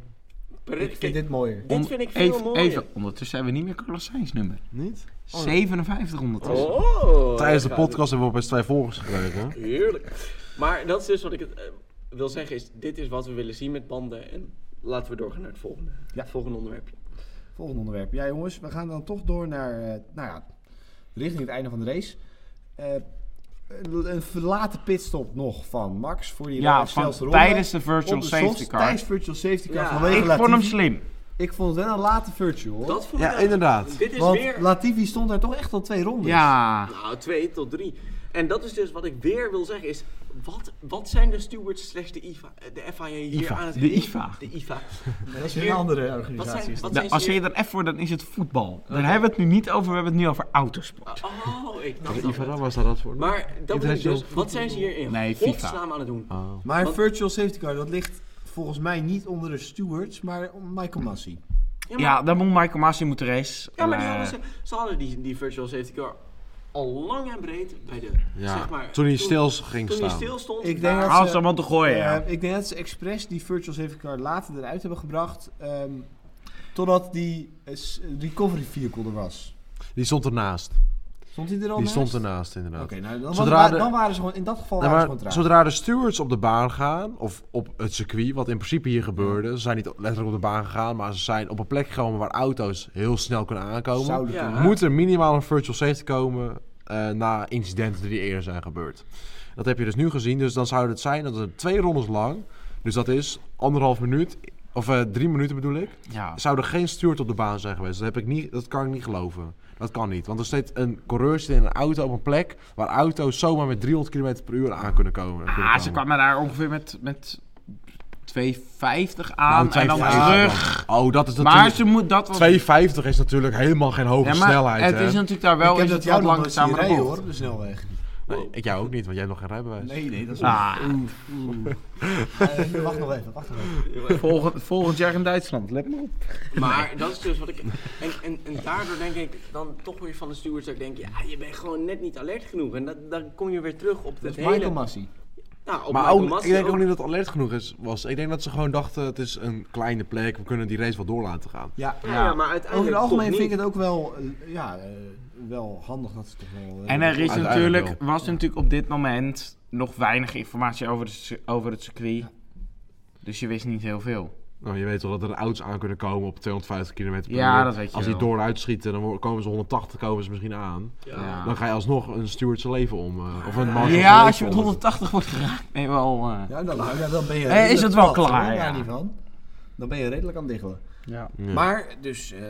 ik vind dit mooier.
dit vind ik veel
even,
mooier.
Even, ondertussen hebben we niet meer Carlos Sainz nummer.
Niet?
57 ondertussen.
Oh,
Tijdens de
daar gaan we.
podcast hebben we opeens twee volgers gekregen.
Heerlijk. Maar dat is dus wat ik het, eh, wil zeggen, is dit is wat we willen zien met banden. En laten we doorgaan naar het volgende, het volgende onderwerpje.
Volgende onderwerp. Ja jongens, we gaan dan toch door naar, eh, nou ja, richting het einde van de race. Eh, een- een late pitstop nog van Max voor die
Ja,
snelste
van,
ronde.
tijdens de
Op
virtual
de
safety
soft,
car.
Tijdens virtual safety car
Ja.
vanwege
Ik
Latifi.
vond hem slim.
Ik vond het wel een late virtual hoor.
Dat vond ik
Ja,
wel-
inderdaad.
Dit is
Want
weer...
Latifi stond daar toch echt al twee rondes.
Ja.
Nou, twee tot drie. En dat is dus wat ik weer wil zeggen is... Wat, wat zijn de stewards slash de, IFA, de FIA hier
IFA,
aan het...
de IFA.
De IFA.
Dat is
Hier-
weer een andere
Wat
organisatie.
zijn,
is dat.
wat
Nou,
zijn
als
ze
je
hier-
er F voor, dan is het voetbal. Daar hebben we het nu niet over, we hebben het nu over autosport.
Oh, ik dacht al.
Ivan, was daar dat voor?
Maar dat bedoel ik dus,
International-
wat zijn ze hier in
Nee, FIFA.
godsnaam aan het doen?
Ah.
Maar
Want-
virtual safety car, dat ligt volgens mij niet onder de stewards, maar onder Michael Massey.
Ja, maar,
Ja, dan moet Michael Masi moeten race.
ja, maar die
Eh,
hadden ze, ze hadden die, die virtual safety car al lang en breed bij de,
Ja,
zeg maar...
toen hij stil ging
toen hij
staan.
stil stond.
Ik
daar-
denk dat
Hans
ze,
allemaal te gooien, Oh, ja.
eh, ik denk dat ze expres die virtual safety car later eruit hebben gebracht, ehm, totdat die eh, s- recovery vehicle er was.
Die stond ernaast.
Stond hij er al
Die
naast?
stond ernaast, inderdaad.
Oké, nou, dan,
Zodra
wa-
de-
dan waren ze gewoon, in dat geval
Ja,
waren
maar
ze gewoon traag.
zodra de stewards op de baan gaan, of op het circuit, wat in principe hier gebeurde, ze zijn niet letterlijk op de baan gegaan, maar ze zijn op een plek gekomen waar auto's heel snel kunnen aankomen,
Zouden
Ja.
kunnen.
moet er minimaal een virtual safety komen eh, na incidenten die eerder zijn gebeurd. Dat heb je dus nu gezien, dus dan zou het zijn dat er twee rondes lang, dus dat is anderhalf minuut, of eh, drie minuten bedoel ik,
Ja.
zou er geen steward op de baan zijn geweest. Dat, heb ik niet, dat kan ik niet geloven. Dat kan niet. Want er steeds een coureur zit in een auto op een plek waar auto's zomaar met 300 km per uur aan kunnen komen. kunnen
Ah, ze
komen.
kwamen daar ongeveer met, met 250 aan
Nou,
en dan
250
terug.
Oh, dat is
Maar
natuurlijk...
ze moet dat was
250 is natuurlijk helemaal geen hoge
Ja, maar
snelheid.
Het
hè?
is natuurlijk daar wel
ik heb
is
dat
het
jou
wat
nog nooit zien
langzamer
rijden hoor, op de snelweg.
Nee, ik jou ook niet, want jij hebt nog geen rijbewijs.
Nee, nee, dat is
Ah,
Eh, wacht nog even, wacht nog even.
volgend, volgend jaar in Duitsland, let me op.
Maar dat is dus wat ik. En, en, en daardoor denk ik dan toch weer van de stewards dat ik denk, ja, je bent gewoon net niet alert genoeg. En dat, dan kom je weer terug op
Dat
het
is Michael
hele.
Massey.
Nou, op
Maar
Michael
ook,
Massey
ik denk ook
ook.
niet dat het alert genoeg is, was. Ik denk dat ze gewoon dachten, het is een kleine plek, we kunnen die race wel door laten gaan.
Ja.
Ja, ja, maar uiteindelijk.
Over het algemeen
toch
vind ik
niet.
het ook wel, eh, ja, eh, wel handig dat ze toch wel... eh,
En er is
Uiteindelijk
natuurlijk, was natuurlijk op dit moment nog weinig informatie over, de, cir- over het circuit. Dus je wist niet heel veel.
Nou, je weet wel dat er auto's aan kunnen komen op 250 km per
Ja,
uur.
dat weet je
Als die
wel.
dooruit schieten, dan wo- komen ze 180 komen ze misschien aan.
Ja.
Ja.
Dan ga je alsnog een steward zijn leven om. eh, of een man.
Ja, als je met 180 wordt geraakt, ben je wel... eh,
Ja, dan, nou, ja, dan ben je...
Eh, is
redelijk
het wel
plat,
klaar,
hoor, daar
ja.
niet van. Dan ben je redelijk aan het diggelen.
Hm.
Maar, dus, eh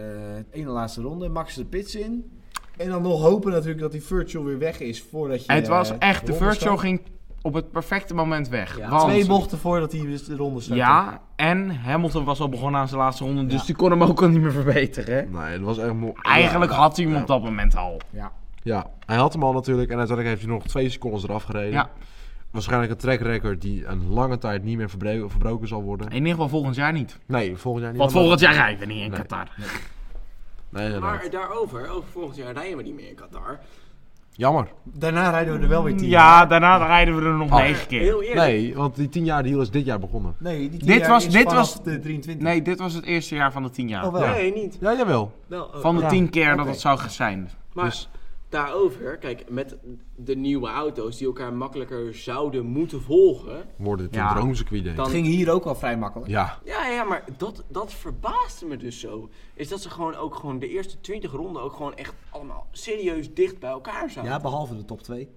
ene laatste ronde, Max de pits in. En dan nog hopen natuurlijk dat die virtual weer weg is voordat je...
het was
eh,
echt, de
ronde
virtual
start.
ging op het perfecte moment weg.
Ja.
want,
Twee bochten voordat hij dus de ronde startte.
Ja, en Hamilton was al begonnen aan zijn laatste ronde, dus die kon hem ook al niet meer verbeteren. hè?
Nee, dat was echt mooi.
Eigenlijk had hij hem op dat moment al.
Ja, hij had hem al natuurlijk. En uiteindelijk heeft hij nog twee secondes eraf gereden.
Ja.
Waarschijnlijk een track record die een lange tijd niet meer verbre- verbroken zal worden.
In ieder geval volgend jaar niet.
Nee, volgend jaar niet.
Want
Maar-
volgend jaar rijden we niet in
Nee.
Qatar.
Nee, nee,
Maar daarover, ook volgend jaar rijden we niet meer in Qatar.
Jammer.
Daarna rijden we er wel weer tien.
Ja, daarna rijden we er nog
Oh.
negen keer.
Heel eerlijk.
Nee, want die 10 jaar deal is dit jaar begonnen.
Nee, die tien
Dit
jaar
was-
is
dit
vanaf
was-
de 23.
Nee, dit was het eerste jaar van de tien jaar.
Oh, wel.
Nee, niet.
Ja, jawel.
Wel, oh,
Van de
Ja.
tien keer dat
Oké.
het zou zijn.
maar
dus-
daarover, kijk, met de nieuwe auto's die elkaar makkelijker zouden moeten volgen.
Wordt het
Ja.
een droomcircuit denk ik.
Dan-
Het ging hier ook al vrij makkelijk.
Ja.
Ja, ja, maar dat, dat verbaasde me dus zo. Is dat ze gewoon ook gewoon de eerste 20 ronden ook gewoon echt allemaal serieus dicht bij elkaar zaten.
Ja, behalve de top 2.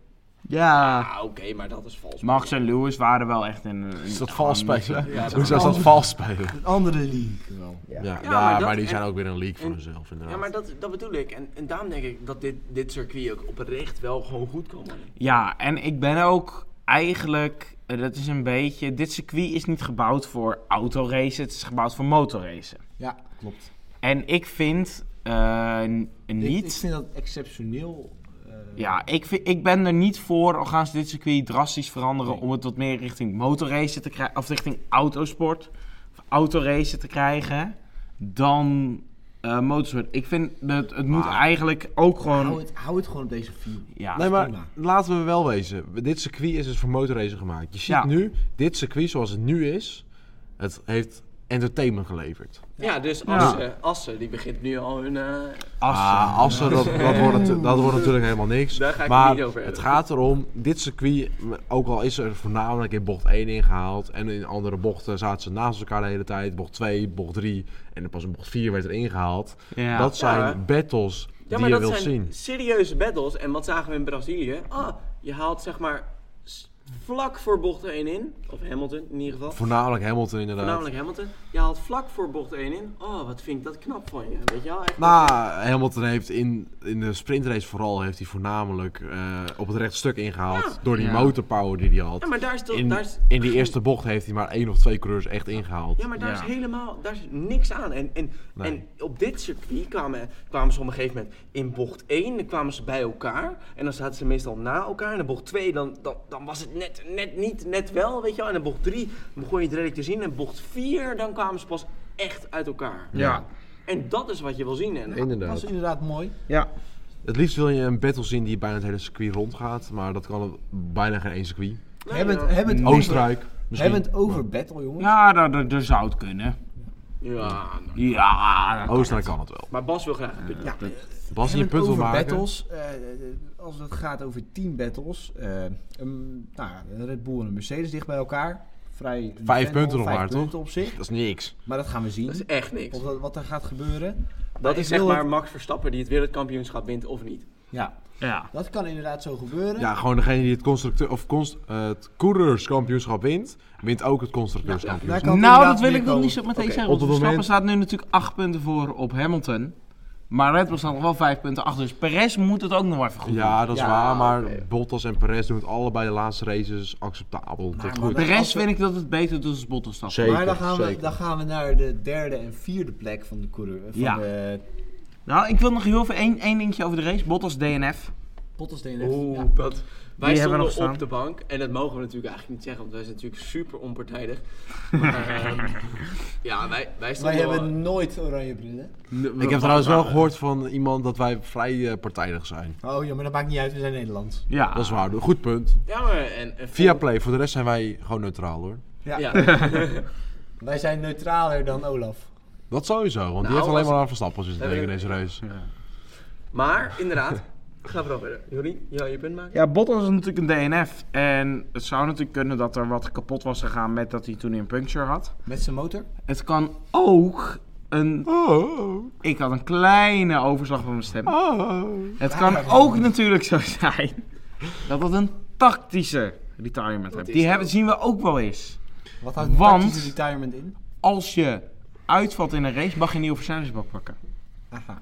Ja.
Ah, oké, maar dat is vals.
Max en Lewis waren wel echt in... in-
Is dat vals spelen?
Ja, dat
Hoezo is
kan.
dat vals spelen?
Een andere league wel.
Ja, ja,
maar
maar,
dat-
die
en-
zijn ook weer een leak voor
en-
zichzelf inderdaad.
Ja, maar dat, dat bedoel ik. En, en daarom denk ik dat dit, dit circuit ook oprecht wel gewoon goed kan worden.
Ja, en ik ben ook eigenlijk... eh, Dat is een beetje... Dit circuit is niet gebouwd voor autoracen. Het is gebouwd voor motorracen.
Ja, klopt.
En ik vind eh, n-
Ik, ik
niet...
vind dat exceptioneel eh,
Ja, ik, vind, ik ben er niet voor. Al gaan ze dit circuit drastisch veranderen om het wat meer richting motorracen te krijgen. Of richting autosport. Of autoracen te krijgen. Dan eh, motorsport. Ik vind dat het
Ah.
moet eigenlijk ook
Hou
Nou,
gewoon.
het, hou het gewoon op deze vier.
Ja,
Nee, maar
prima.
laten we wel wezen. Dit circuit is dus voor motorracen gemaakt. Je ziet
Ja.
nu, dit circuit zoals het nu is, het heeft entertainment geleverd.
Ja, dus Assen, Assen die begint nu al hun... eh,
Assen.
Ah, als ze dat, dat, wordt natu- dat wordt natuurlijk helemaal niks.
Daar ga ik
maar
het niet over hebben.
het gaat erom, dit circuit, ook al is er voornamelijk in bocht 1 ingehaald en in andere bochten zaten ze naast elkaar de hele tijd, bocht 2, bocht 3 en dan pas in bocht 4 werd er ingehaald.
Ja.
Dat zijn
Ja.
battles
Ja,
die
maar
je
dat
wilt
zijn
zien.
serieuze battles. En wat zagen we in Brazilië? Ah, je haalt zeg maar s- vlak voor bocht 1 in. Of Hamilton in ieder geval.
Voornamelijk Hamilton inderdaad.
Voornamelijk Hamilton. Je haalt vlak voor bocht 1 in. Oh, wat vind ik dat knap van je. Weet je wel? Echt-
Nou, Hamilton heeft in, in de sprintrace vooral heeft hij voornamelijk eh, op het rechtstuk ingehaald door die
Ja.
motorpower die hij had.
ja, maar daar is toch...
in,
daar is,
in die eerste bocht heeft hij maar één of twee coureurs echt ingehaald.
Ja, maar daar
Ja.
is helemaal daar is niks aan. En, en,
Nee.
en op dit circuit kwamen, kwamen ze op een gegeven moment in bocht 1, dan kwamen ze bij elkaar. En dan zaten ze meestal na elkaar. En in bocht 2, dan, dan, dan was het net, net niet, net wel, weet je wel. En in bocht 3 begon je het redelijk te zien. En bocht 4, dan kwamen ze pas echt uit elkaar.
Ja.
En dat is wat je wil zien. En
Dat
Inderdaad.
is inderdaad mooi.
Ja.
Het liefst wil je een battle zien die bijna het hele circuit rondgaat, maar dat kan op bijna geen één circuit.
nou,
hebben
ja.
het, hebben het over,
Oostenrijk misschien.
hebben het over battle, jongens.
Ja, dat, dat, dat zou het kunnen.
Ja, nou.
Ja, dat-
Oostenrijk kan het wel.
maar Bas wil graag een punt.
Ja,
Bas die een
hebben het
punt wil
over
maken.
battles. eh, eh, als het gaat over team battles. eh, een, nou, ja, een Red Bull en een Mercedes dicht bij elkaar. Vrij
Vijf punten nog
vijf
maar, toch?
punten op zich.
Dat is niks.
Maar dat gaan we zien.
Dat is echt niks.
Of dat, wat er gaat gebeuren.
Dat
ik
is zeg
wil
maar
het-
Max Verstappen die het wereldkampioenschap wint of niet.
Ja,
ja.
dat kan inderdaad zo gebeuren.
Ja, gewoon degene die het, constructeur, of const, eh, het coureurskampioenschap wint, wint ook het constructeurskampioenschap.
Daar kan het
Nou, dat
inderdaad
wil
weer
ik nog
komen.
niet zo meteen zeggen.
op
Want
het
Verstappen
moment-
staat nu natuurlijk 8 punten voor op Hamilton. Maar Red Bull staat nog wel 5 punten achter. Dus Perez moet het ook nog even goed
Ja, dat is
Ja,
waar, maar
oké.
Bottas en Perez doen het allebei de laatste races acceptabel tot
maar
goed.
De
Als
rest
we-
vind ik dat het beter doet als Bottas stapt.
Zeker,
maar dan gaan, we,
zeker.
dan gaan we naar de derde en vierde plek van de coureur. eh, Van
Ja.
de
Nou, ik wil nog heel even één, één dingetje over de race. Bottas DNF.
Bottas DNF.
Oeh,
Ja.
dat. Wij
hebben
stonden
nog staan.
op de bank en dat mogen we natuurlijk eigenlijk niet zeggen, want wij zijn natuurlijk super onpartijdig. Maar, ehm, ja, wij, wij
Wij
stonden. wel-
hebben nooit oranje brillen.
Ik heb trouwens wel gehoord van iemand dat wij vrij eh, partijdig zijn.
Oh ja, maar dat maakt niet uit, we zijn Nederlands.
Ja.
Dat is waar, een goed punt.
Ja, maar en, en
Via Play, voor de rest zijn wij gewoon neutraal hoor.
Ja.
Ja.
Wij zijn neutraler dan Olaf.
Dat sowieso, want die
Nou,
heeft alleen
als-
maar aan Verstappen zitten
Hebben
denken in
we-
deze race.
maar inderdaad, ga vooral verder. Jorien, ja, je punt maken.
Ja, Bottas is natuurlijk een DNF. En het zou natuurlijk kunnen dat er wat kapot was gegaan met dat hij toen een puncture had.
Met zijn motor?
Het kan ook een...
Oh,
Ik had een kleine overslag van mijn stem.
oh.
Het kan ook natuurlijk zo zijn [LAUGHS] dat dat een tactische retirement hebt.
is
Die
het
hebben, zien we ook wel eens.
Wat houdt een
Want-
tactische retirement in?
Als je uitvalt in een race, mag je een nieuwe versnellingsbak pakken.
Aha.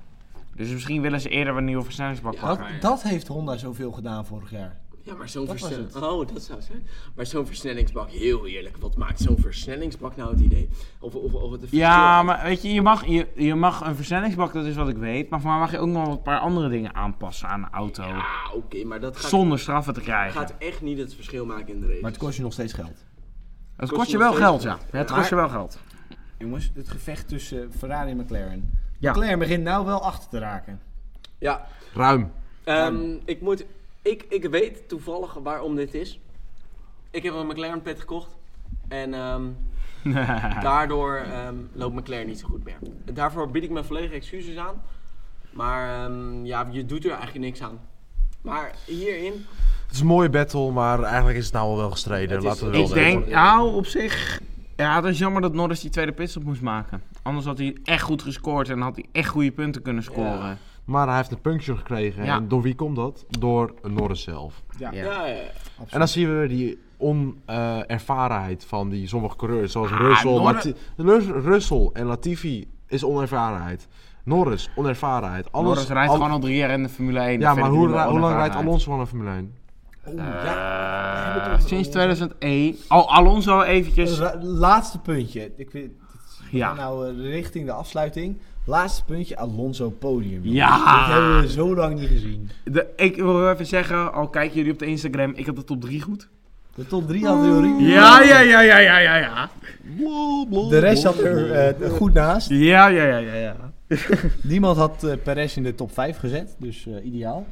Dus misschien willen ze eerder een nieuwe versnellingsbak
Dat,
pakken.
dat heeft Honda zoveel gedaan vorig jaar.
Ja, maar zo'n
Dat was
versnelling. Oh, dat zou zijn. Maar zo'n versnellingsbak, heel eerlijk. Wat maakt zo'n versnellingsbak nou het idee? Of, of, of het verschil
Ja,
uit?
maar weet je, je mag, je, je mag een versnellingsbak, dat is wat ik weet. Maar voor mij mag je ook nog wel een paar andere dingen aanpassen aan de auto.
Ah, oké, maar dat gaat,
Zonder straffen te krijgen.
gaat echt niet het verschil maken in de race.
Maar het kost je nog steeds geld.
het
kost
kost
je
je wel
nog steeds
geld, ja.
geld.
Het kost je wel
[LAUGHS]
geld.
Jongens, het gevecht tussen Ferrari en McLaren.
Ja.
McLaren begint nou wel achter te raken.
Ja,
Ruim.
Ehm, ik, moet, ik, ik weet toevallig waarom dit is. Ik heb een McLaren pet gekocht. En ehm, daardoor ehm, loopt McLaren niet zo goed meer. Daarvoor bied ik mijn volledige excuses aan. Maar ehm, ja, je doet er eigenlijk niks aan. Maar hierin...
Het is een mooie battle, maar eigenlijk is het nou al wel gestreden.
Het is-
Laten we wel
Ik
dat
denk,
is-
nou, op zich... Ja, dat is jammer dat Norris die tweede pitstop moest maken. Anders had hij echt goed gescoord en had hij echt goede punten kunnen scoren.
Ja.
Maar hij heeft een puncture gekregen.
Ja.
En door wie komt dat? Door Norris zelf.
Ja.
Ja, ja, ja.
En dan zien we weer die onervarenheid van die sommige coureurs. Zoals
Ah,
Russell,
Norris-
Lati- Lus- Russell en Latifi is onervarenheid. Norris, onervarenheid. Alles,
Norris rijdt
al-
gewoon al drie jaar in de Formule 1.
Ja, maar hoe, ra- hoe lang rijdt Alonso al een Formule 1?
Oh,
Oeh, ja. we hebben het over
Eh, Sinds
Honda.
2001. Oh, Alonso eventjes.
Ra- laatste puntje. Ik weet, dit is- we
Ja.
gaan nou eh, richting de afsluiting. Laatste puntje, Alonso podium. jongens.
Ja!
Dat hebben we zo lang niet gezien.
De, ik wil even zeggen, al kijken jullie op de Instagram, ik had de top 3 goed.
De top 3 had Jorien.
Ja, ja, ja, ja, ja, ja, ja.
De rest zat er eh, goed naast.
Ja, ja, ja, ja, ja.
Niemand had eh, Perez in de top 5 gezet, dus eh, ideaal.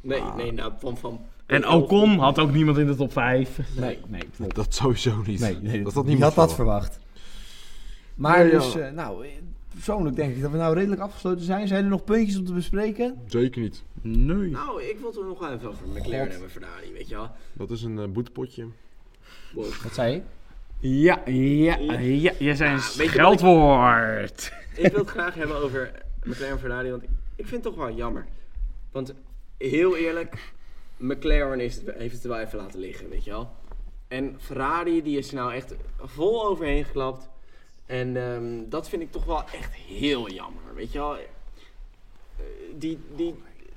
Nee, nee, nou, van... van
En Ocon had ook niemand in de top 5.
Nee.
nee.
Dat sowieso niet. dat had
die
niemand
had dat
verwacht.
verwacht. Maar
Nee, ja.
dus, eh, nou, eh, persoonlijk denk ik dat we nou redelijk afgesloten zijn. Zijn er nog puntjes om te bespreken?
Zeker niet.
Nee.
Nou, ik wil er nog wel even over McLaren en Ferrari, weet je wel.
Dat is een eh, boetepotje.
Wow.
Wat zei je?
Ja, ja, ja. Jij zijn een
Ah, weet je wat ik-
scheldwoord.
Ik wil het graag hebben over McLaren Ferrari, want ik vind het toch wel jammer. Want heel eerlijk, McLaren is het- heeft het er wel even laten liggen, weet je wel. En Ferrari die is er nou echt vol overheen geklapt. En ehm, dat vind ik toch wel echt heel jammer, weet je wel. Eh, Die, die,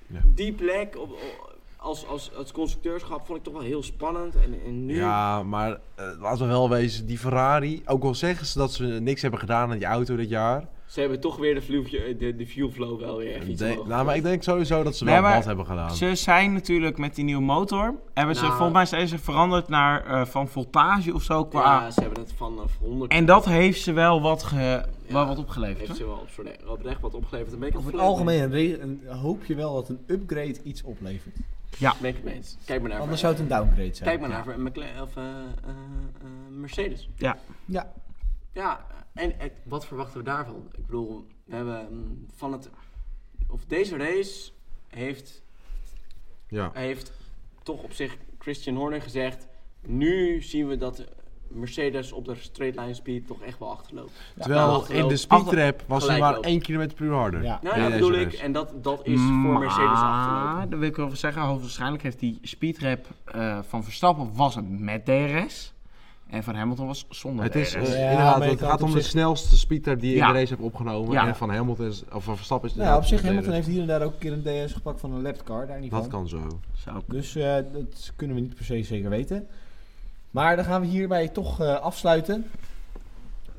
Ja.
die plek op, op- als, als, als constructeurschap vond ik toch wel heel spannend. En, en nu...
Ja, maar eh, laten we wel wezen, die Ferrari, ook al zeggen ze dat ze niks hebben gedaan aan die auto dit jaar.
Ze hebben toch weer de, vloe- de, de fuel flow wel weer even iets
denk-
omhoog
nou, maar ik denk sowieso dat ze
Nee,
wel
maar
wat hebben gedaan.
Ze zijn natuurlijk met die nieuwe motor. Hebben ze,
Nou.
volgens mij zijn ze veranderd naar eh, van voltage of zo. Qua...
Ja, ze hebben het vanaf 100
En dat heeft ze wel wat, ge...
Ja.
wel wat opgeleverd.
heeft
hoor.
ze wel op soort- oprecht wat opgeleverd. Dan ben ik
Over het
volledig
algemeen een re- een- hoop je wel dat een upgrade iets oplevert.
mee. Ben ik het mee eens. Kijk maar naar
Anders zou het een downgrade zijn.
Kijk maar naar McLaren of eh, eh, eh, Mercedes.
Ja,
Ja, en eh, wat verwachten we daarvan? Ik bedoel, we hebben mm, van het of deze race heeft
Ja.
heeft toch op zich Christian Horner gezegd. Nu zien we dat Mercedes op de straight line speed toch echt wel achterloopt.
Terwijl
achterloop-
in de speedtrap was hij maar
gelijkloop.
1 km per uur harder.
Ja.
Nou
Ja,
ja,
deze
bedoel ik.
race.
En dat, dat is voor Mercedes achterlopen.
Maar, Mm, ah, daar wil ik wel van zeggen, hoogstwaarschijnlijk heeft die speedrap eh, van Verstappen was het met DRS. En van Hamilton was zonder
Het
DRS.
is
Ja, maar
eh, inderdaad,
je
het
kan
gaat
het op
om de
zich-
snelste speedtrap die je in
Ja.
de race hebt opgenomen.
Ja.
En van Hamilton is, of van Verstappen is
nou, op
inderdaad
zich,
een
Hamilton
derde.
heeft hier en daar ook een keer een DS gepakt van een lapcar. Daar niet
Dat
van.
kan zo.
Zou ook-
Dus eh, dat kunnen we niet per se zeker weten. Maar dan gaan we hierbij toch eh, afsluiten.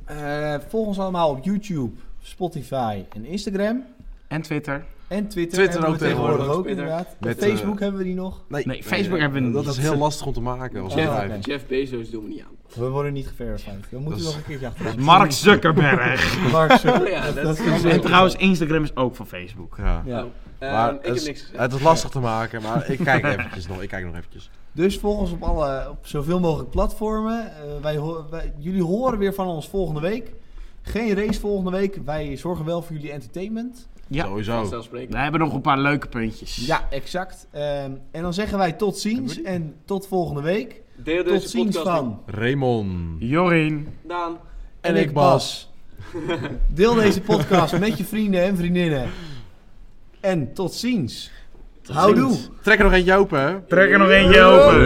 Eh volg ons allemaal op YouTube, Spotify en Instagram.
En Twitter.
En Twitter.
Twitter
hebben we
ook tegenwoordig.
ook
Twitter.
inderdaad.
Met,
Facebook
eh,
hebben we die nog.
Nee, Facebook hebben we
Dat
niet.
is heel lastig om te maken als
Oh,
bedrijf.
oké.
Jeff Bezos doen we niet aan.
We worden niet geverified. We moeten
is-
nog een keertje achteraan.
Mark [LAUGHS] Zuckerberg.
Mark Zuckerberg.
Oh ja, dat,
Dat
is
is-
en trouwens, Instagram is ook van Facebook.
Ja.
Ja.
Maar
Eh, ik
het,
heb
is,
niks gezegd.
het is lastig te maken, maar ik kijk eventjes nog. Ik kijk nog eventjes.
Dus volg ons op, alle, op zoveel mogelijk platformen. Eh, wij, ho- wij- jullie horen weer van ons volgende week. Geen race volgende week. Wij zorgen wel voor jullie entertainment.
Ja.
Sowieso.
Vanzelfsprekend.
We hebben nog een paar leuke puntjes.
Ja, exact. Ehm, en dan zeggen wij tot ziens en tot volgende week.
Deel deze
Tot ziens
podcast
van.
Raymond.
Jorien.
met Daan.
En ik Bas. [LAUGHS] Deel deze podcast met je vrienden en vriendinnen. En tot ziens. Houdoe.
Trek er nog eentje open, hè?
Trek er nog eentje open.